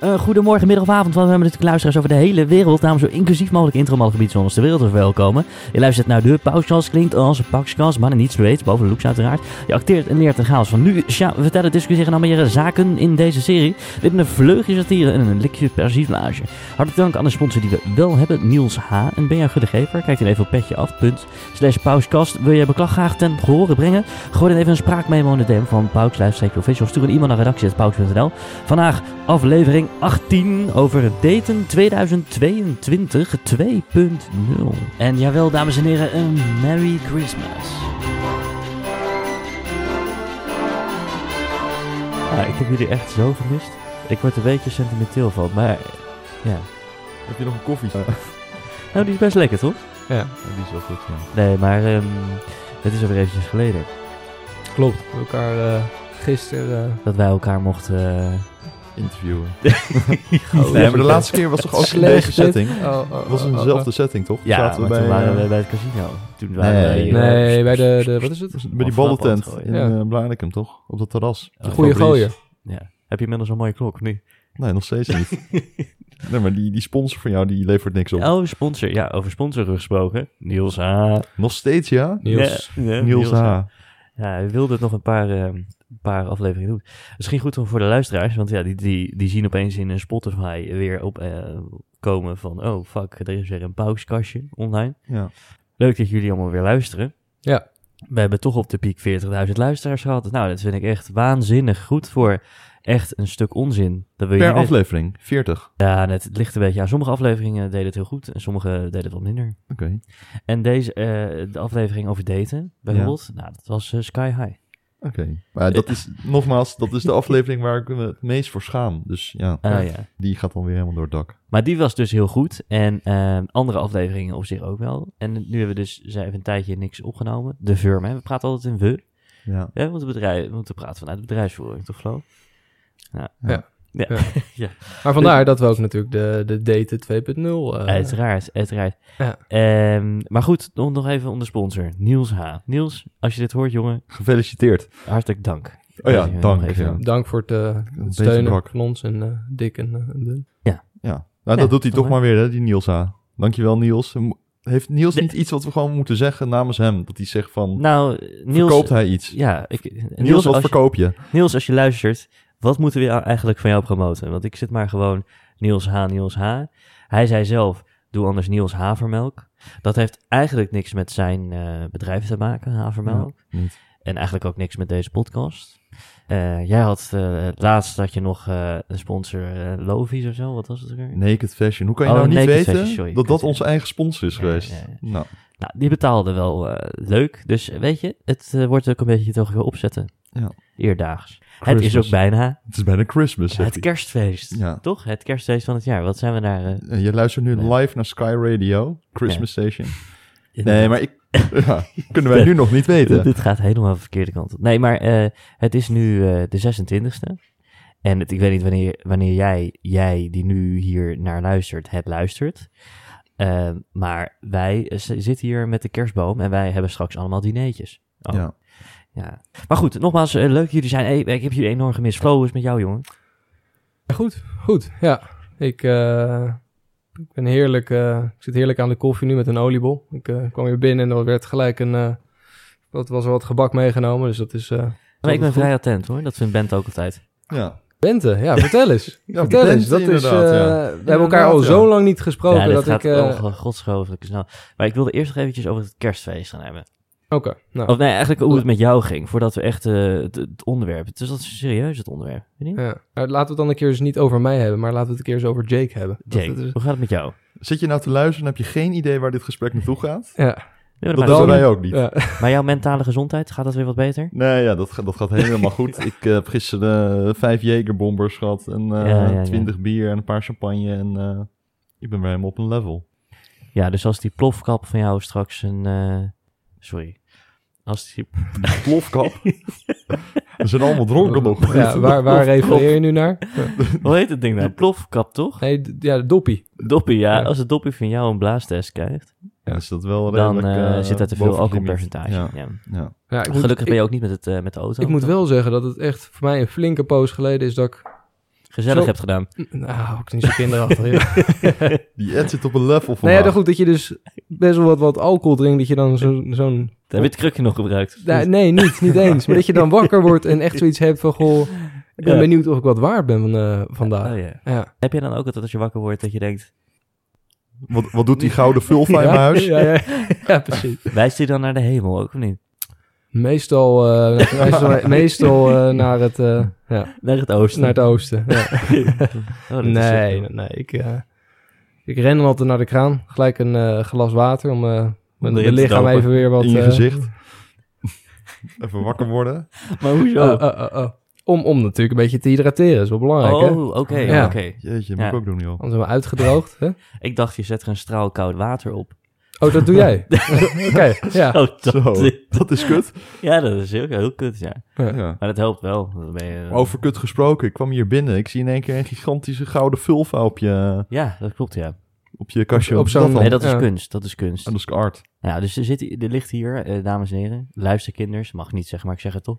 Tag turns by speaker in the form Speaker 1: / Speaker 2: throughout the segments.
Speaker 1: Eh, goedemorgen, middag of avond, want we hebben natuurlijk luisteraars over de hele wereld. Daarom zo inclusief mogelijk intro mogelijk gebied zoals de wereld is welkomen. Je luistert naar de Pauschas, klinkt als een pakskans, maar niets weet, boven de looks uiteraard. Je acteert en leert de chaos van nu. Sja, we vertellen, discussiëren en meer zaken in deze serie. Dit met een vleugje satire en een likje persiflage. Hartelijk dank aan de sponsor die we wel hebben, Niels H. En ben jij een goede gever? Kijk dan even op petje af, punt, slash pauskast. Wil je beklag graag ten gehore brengen? Gooi dan even een spraakmemo in de DM van Pauks Lifestyle Official. Stuur een e-mail naar redactie.pauks.nl. Vandaag aflevering 18 over daten 2022 2.0. En jawel, dames en heren, een Merry Christmas.
Speaker 2: Ja, ik heb jullie echt zo gemist. Ik word een beetje sentimenteel van, maar ja.
Speaker 3: Heb je nog een koffie?
Speaker 2: Nou, die is best lekker, toch?
Speaker 3: ja. Die is wel goed, ja.
Speaker 2: Nee, maar ehm, het is alweer eventjes geleden
Speaker 4: Klopt. We elkaar eh, gisteren... eh,
Speaker 2: dat wij elkaar mochten... eh,
Speaker 3: Interviewen.
Speaker 2: Oh,
Speaker 3: nee, maar de
Speaker 2: ja.
Speaker 3: laatste keer was toch ook in
Speaker 4: Slecht
Speaker 3: deze
Speaker 4: dit.
Speaker 3: setting? Het
Speaker 4: oh, oh,
Speaker 3: was in
Speaker 4: oh, oh.
Speaker 3: dezelfde setting, toch?
Speaker 2: Ja,
Speaker 3: Zaten we
Speaker 2: maar toen waren
Speaker 3: eh,
Speaker 2: we bij het casino. Toen waren
Speaker 3: Nee.
Speaker 2: wij... eh,
Speaker 4: Nee, bij de, de... Wat is het?
Speaker 3: bij die
Speaker 2: Of flap
Speaker 3: ballentent
Speaker 2: aan het
Speaker 3: in
Speaker 4: gooien.
Speaker 3: eh, Blarikum, toch? Op dat terras.
Speaker 2: Oh,
Speaker 3: Van
Speaker 4: Goeie
Speaker 3: Breeze.
Speaker 4: gooien.
Speaker 2: Ja. Heb je inmiddels een mooie klok nu?
Speaker 3: Nee, nog steeds niet. nee, maar die, die sponsor van jou, die levert niks op.
Speaker 2: Oh, sponsor. Ja, over sponsor gesproken. Niels H.
Speaker 3: Nog steeds, ja?
Speaker 4: Niels.
Speaker 2: Ja, ja,
Speaker 3: Niels H.
Speaker 2: Ja, we wilden het nog een paar, eh, een paar afleveringen doen. Misschien goed om voor de luisteraars, want ja, die, die, die zien opeens in een Spotify weer op eh, komen van, oh fuck, er is weer een pauzekastje online.
Speaker 3: Ja.
Speaker 2: Leuk dat jullie allemaal weer luisteren.
Speaker 4: Ja.
Speaker 2: We hebben toch op de piek 40.000 luisteraars gehad. Nou, dat vind ik echt waanzinnig goed voor echt een stuk onzin. Dat wil je
Speaker 3: Per
Speaker 2: niet weten.
Speaker 3: aflevering, 40.
Speaker 2: Ja, en het ligt een beetje aan. Sommige afleveringen deden het heel goed en sommige deden het wat minder.
Speaker 3: Oké.
Speaker 2: En deze, eh, de aflevering over daten, bijvoorbeeld, nou, dat was eh, sky high.
Speaker 3: Oké. Maar dat is, nogmaals, dat is de aflevering waar ik me het meest voor schaam. Dus ja,
Speaker 2: Ah ja.
Speaker 3: die gaat dan weer helemaal door het dak.
Speaker 2: Maar die was dus heel goed. En eh, andere afleveringen op zich ook wel. En nu hebben we dus ze hebben een tijdje niks opgenomen. De firm, hè? We praten altijd in we.
Speaker 3: Ja.
Speaker 2: Hè? We, moeten bedrijf, we moeten praten vanuit bedrijfsvoering, toch Flo?
Speaker 4: Maar vandaar dat we ook natuurlijk de, de Daten 2.0... eh,
Speaker 2: uiteraard, uiteraard.
Speaker 4: Ja.
Speaker 2: Ehm, maar goed, nog, nog even om de sponsor. Niels H. Niels, als je dit hoort, jongen,
Speaker 3: Gefeliciteerd.
Speaker 2: hartelijk dank.
Speaker 3: Oh ja,
Speaker 2: Weet je,
Speaker 3: dank.
Speaker 2: nog even.
Speaker 3: Ja.
Speaker 4: Dank voor het eh,
Speaker 3: beetje
Speaker 4: steunen
Speaker 3: brak.
Speaker 4: van ons en eh, Dick en eh, en Dun.
Speaker 3: Ja, nou,
Speaker 2: Ja,
Speaker 3: dat doet hij
Speaker 2: toch
Speaker 3: toch maar weer, hè, die Niels H. Dankjewel, Niels. Mo- Heeft Niels niet iets wat we gewoon moeten zeggen namens hem? Dat hij zegt van,
Speaker 2: Nou, Niels...
Speaker 3: verkoopt hij iets?
Speaker 2: Ja, ik, Niels,
Speaker 3: Niels, wat
Speaker 2: als je-
Speaker 3: verkoop je?
Speaker 2: Niels, als je luistert, wat moeten we eigenlijk van jou promoten? Want ik zit maar gewoon Niels H, Niels H. Hij zei zelf, doe anders Niels Havermelk. Dat heeft eigenlijk niks met zijn eh, bedrijf te maken, Havermelk.
Speaker 3: niet.
Speaker 2: En eigenlijk ook niks met deze podcast. Eh, jij had eh, het laatst dat je nog eh, een sponsor, eh, Lovies of zo, wat was het er?
Speaker 3: Naked Fashion. Hoe kan je
Speaker 2: Oh,
Speaker 3: nou niet
Speaker 2: Naked
Speaker 3: weten
Speaker 2: Fashion, sorry.
Speaker 3: dat dat
Speaker 2: Ja.
Speaker 3: onze eigen sponsor is
Speaker 2: Ja,
Speaker 3: geweest?
Speaker 2: ja, ja.
Speaker 3: Nou,
Speaker 2: Nou, die betaalde wel eh, leuk. Dus eh, weet je, het eh, wordt ook een beetje toch weer opzetten.
Speaker 3: Ja.
Speaker 2: Eerdaags. Het is
Speaker 3: Christmas.
Speaker 2: ook bijna
Speaker 3: het is bijna Christmas, zegt
Speaker 2: het kerstfeest.
Speaker 3: Ja.
Speaker 2: Toch? Het kerstfeest van het jaar. Wat zijn we daar... eh,
Speaker 3: hij. Eh, Je luistert nu
Speaker 2: Nee.
Speaker 3: live naar Sky Radio, Christmas Station.
Speaker 2: in-
Speaker 3: Nee, maar ik... ja, kunnen wij nu nog niet weten.
Speaker 2: Dit gaat helemaal de verkeerde kant op. Nee, maar eh, het is nu eh, de 26e. En het, ik weet niet wanneer, wanneer jij, jij die nu hier naar luistert, het luistert. Eh, maar wij eh, z- zitten hier met de kerstboom en wij hebben straks allemaal dineetjes. Oh,
Speaker 3: Ja.
Speaker 2: ja. Maar goed, nogmaals, eh, leuk dat jullie zijn. Hey, ik heb jullie enorm gemist. Flow is met jou, jongen.
Speaker 4: Ja, goed, goed. Ja, ik, eh, ik ben heerlijk. eh, ik zit heerlijk aan de koffie nu met een oliebol. Ik eh, kwam hier binnen en er werd gelijk een. eh dat was wel wat gebak meegenomen, dus dat is. eh
Speaker 2: Maar ik ben
Speaker 4: goed.
Speaker 2: vrij attent hoor, dat vindt Bent ook altijd.
Speaker 3: Ja.
Speaker 4: Bente, ja, vertel eens.
Speaker 3: Ja,
Speaker 4: vertel eens.
Speaker 3: Bente,
Speaker 4: Dat is, eh,
Speaker 3: inderdaad, ja.
Speaker 4: We hebben elkaar al
Speaker 3: Inderdaad,
Speaker 4: zo
Speaker 3: ja.
Speaker 4: lang niet gesproken
Speaker 2: ja, dit
Speaker 4: dat ik.
Speaker 2: gaat
Speaker 4: eh, Oké,
Speaker 2: ongelooflijk snel. Maar ik wilde eerst nog eventjes over het kerstfeest gaan hebben.
Speaker 4: nou.
Speaker 2: Of nee, eigenlijk hoe het met jou ging, voordat we echt eh, het, het onderwerp... Het is dat serieus, het onderwerp. Weet je niet?
Speaker 4: Ja. Nou, laten we het dan een keer eens niet over mij hebben, maar laten we het een keer eens over Jake hebben. Dat-
Speaker 2: Jake,
Speaker 4: dat is-
Speaker 2: hoe gaat het met jou?
Speaker 3: Zit je nou te luisteren en heb je geen idee waar dit gesprek naartoe gaat?
Speaker 4: ja,
Speaker 2: Ja,
Speaker 3: Dat
Speaker 2: maar,
Speaker 3: hebben wij ook niet.
Speaker 4: ja.
Speaker 2: maar jouw mentale gezondheid, gaat dat weer wat beter?
Speaker 3: Nee, ja, dat, ga- dat gaat helemaal goed. Ik eh, heb gisteren eh, vijf Jagerbombers gehad en eh
Speaker 2: Ja, ja, ja.
Speaker 3: twintig bier en een paar champagne. En eh, ik ben weer helemaal op een level.
Speaker 2: Ja, dus als die plofkap van jou straks een... eh, sorry. Als die...
Speaker 3: Plofkap. We zijn allemaal dronken nog.
Speaker 4: Ja, waar, waar refereer je nu naar?
Speaker 2: Hoe heet het ding nou? Plofkap, toch?
Speaker 4: Nee, d- ja, de doppie.
Speaker 2: Doppie, ja.
Speaker 4: Ja.
Speaker 2: Als de doppie van jou een blaastest krijgt,
Speaker 3: Ja, is dat wel
Speaker 2: dan
Speaker 3: redelijk,
Speaker 2: eh,
Speaker 3: eh,
Speaker 2: zit daar te
Speaker 3: boven
Speaker 2: veel
Speaker 3: het
Speaker 2: alcoholpercentage.
Speaker 3: limiet.
Speaker 2: Ja.
Speaker 3: Ja, ja.
Speaker 4: Ja, ik moet-
Speaker 2: Gelukkig
Speaker 4: ik-
Speaker 2: ben je ook niet met, het, eh, met de auto.
Speaker 4: Ik moet wel zeggen dat het echt voor mij een flinke poos geleden is dat ik
Speaker 2: gezellig
Speaker 4: Zo-
Speaker 2: hebt gedaan.
Speaker 4: Nou, ook niet zo kinderachtig. joh.
Speaker 3: Die ad zit op een level van
Speaker 4: nou ja, dan goed dat je dus best wel wat, wat alcohol drinkt, dat je dan zo- zo'n...
Speaker 2: Heb je het krukje nog gebruikt?
Speaker 4: Nou, nee, niet, niet eens. Maar dat je dan wakker wordt en echt zoiets hebt van, goh, ik ben
Speaker 2: Ja.
Speaker 4: benieuwd of ik wat waard ben eh, vandaag.
Speaker 2: Oh, ja.
Speaker 4: Ja.
Speaker 2: Heb je dan ook altijd als je wakker wordt dat je denkt,
Speaker 3: Wat, wat doet die gouden vulva in
Speaker 4: ja,
Speaker 3: mijn huis?
Speaker 4: Ja, ja, ja, precies.
Speaker 2: wijst hij dan naar de hemel ook of niet?
Speaker 4: Meestal, eh, meestal, meestal eh, naar, het, eh, ja,
Speaker 2: Naar het oosten.
Speaker 4: naar het oosten. Ja.
Speaker 2: Oh, dat is
Speaker 4: Nee,
Speaker 2: zo-
Speaker 4: nee, nee, ik, eh, ik ren dan altijd naar de kraan. Gelijk een eh, glas water om eh mijn
Speaker 2: erin
Speaker 4: mijn
Speaker 2: te
Speaker 4: lichaam
Speaker 2: dopen.
Speaker 4: even weer wat...
Speaker 3: in je
Speaker 4: eh,
Speaker 3: gezicht. Even wakker worden.
Speaker 2: Maar hoezo?
Speaker 4: eh, eh, eh, eh, om, om natuurlijk een beetje te hydrateren, is wel belangrijk, hè?
Speaker 2: oh, oké,
Speaker 4: Ja.
Speaker 2: oké.
Speaker 3: Jeetje, moet
Speaker 2: Ja.
Speaker 3: ik ook doen, joh.
Speaker 4: Anders zijn we uitgedroogd, hè?
Speaker 2: Ik dacht, je zet er een straal koud water op.
Speaker 4: Oh, dat doe jij? Oké, ja.
Speaker 2: Oh, dat,
Speaker 3: Zo, dat is kut.
Speaker 2: Ja, dat is heel, heel kut, ja.
Speaker 3: Ja.
Speaker 2: Maar dat helpt wel. Dan ben je, eh,
Speaker 3: Over kut gesproken, ik kwam hier binnen. Ik zie in één keer een gigantische gouden vulva op je,
Speaker 2: Ja, dat klopt, ja.
Speaker 3: op je kastje.
Speaker 4: Op
Speaker 3: Wat is
Speaker 4: zo'n-
Speaker 3: dat dan?
Speaker 2: Nee, dat is
Speaker 4: Ja.
Speaker 2: kunst, dat is kunst.
Speaker 3: Ah, dat is art.
Speaker 2: Nou, dus er, zit, er ligt hier, eh, dames en heren, luisterkinders, mag niet zeggen, maar ik zeg het toch.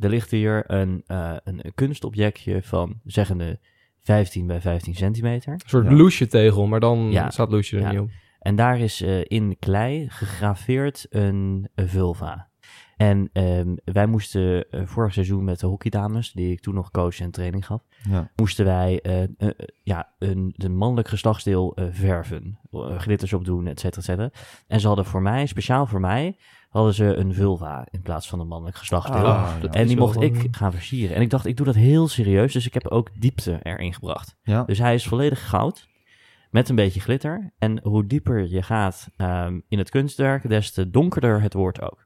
Speaker 2: Er ligt hier een, eh, een, een kunstobjectje van, zeggende, 15 bij 15 centimeter.
Speaker 4: Een soort
Speaker 3: Ja.
Speaker 4: loesje tegel, maar dan
Speaker 2: Ja.
Speaker 4: staat loesje er
Speaker 2: Ja.
Speaker 4: niet op.
Speaker 2: En daar is eh, in klei gegraveerd een, een vulva. En ehm, wij moesten eh, vorig seizoen met de hockeydames, die ik toen nog coach en training gaf,
Speaker 3: Ja.
Speaker 2: moesten wij eh, eh, eh, ja, een, een mannelijk geslachtsdeel eh, verven. Eh, glitters op doen, et cetera, et cetera. En ze hadden voor mij, speciaal voor mij, hadden ze een vulva in plaats van een mannelijk geslachtsdeel.
Speaker 3: Ah,
Speaker 4: dat
Speaker 2: en
Speaker 4: Nou, is
Speaker 2: die
Speaker 4: wel
Speaker 2: mocht
Speaker 4: gewoon- eh,
Speaker 2: ik gaan versieren. En ik dacht, ik doe dat heel serieus, dus ik heb ook diepte erin gebracht.
Speaker 3: Ja.
Speaker 2: Dus hij is volledig goud. Met een beetje glitter. En hoe dieper je gaat ehm, in het kunstwerk, des te donkerder het wordt ook.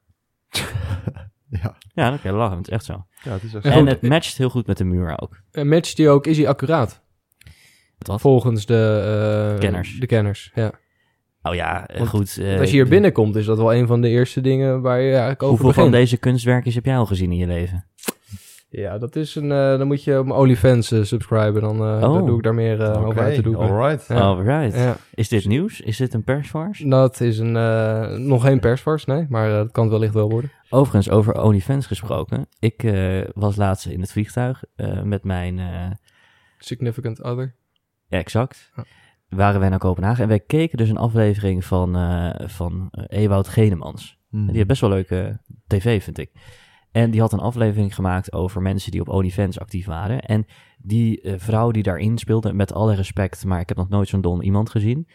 Speaker 3: Ja.
Speaker 2: Ja, dan kan je lachen, het is echt zo.
Speaker 3: ja, het is echt
Speaker 4: Ja,
Speaker 2: en
Speaker 4: goed.
Speaker 2: het matcht heel goed met de muur ook.
Speaker 4: En Eh, matcht die ook, is die accuraat?
Speaker 2: Wat?
Speaker 4: Volgens de... eh,
Speaker 2: Kenners.
Speaker 4: De kenners, ja.
Speaker 2: Oh ja, eh,
Speaker 4: Want
Speaker 2: goed. eh,
Speaker 4: Als je hier binnenkomt, is dat wel een van de eerste dingen waar je eigenlijk over
Speaker 2: Hoeveel van
Speaker 4: begint.
Speaker 2: deze kunstwerkjes heb jij al gezien in je leven?
Speaker 4: Ja, dat is een... eh, dan moet je op mijn OnlyFans eh, subscriben. Dan, eh,
Speaker 2: Oh.
Speaker 4: dan doe ik daar meer eh,
Speaker 3: Oké,
Speaker 4: over uit te doen.
Speaker 3: alright.
Speaker 4: Ja.
Speaker 2: Alright.
Speaker 4: Ja,
Speaker 2: Is dit nieuws? Is dit een persfarce?
Speaker 4: dat is een, eh, nog geen persvars, nee. Maar eh, dat kan het wellicht wel worden.
Speaker 2: Overigens, over OnlyFans gesproken. Ik eh, was laatst in het vliegtuig eh, met mijn... eh,
Speaker 4: Significant
Speaker 2: Nou,
Speaker 4: other.
Speaker 2: Ja, exact.
Speaker 4: Ja.
Speaker 2: Waren wij naar Kopenhagen en wij keken dus een aflevering van, eh, van eh, Ewout Genemans.
Speaker 3: Hmm.
Speaker 2: Die heeft best wel leuke tv, vind ik. En die had een aflevering gemaakt over mensen die op OnlyFans actief waren. En die eh, vrouw die daarin speelde, met alle respect, maar ik heb nog nooit zo'n don iemand gezien.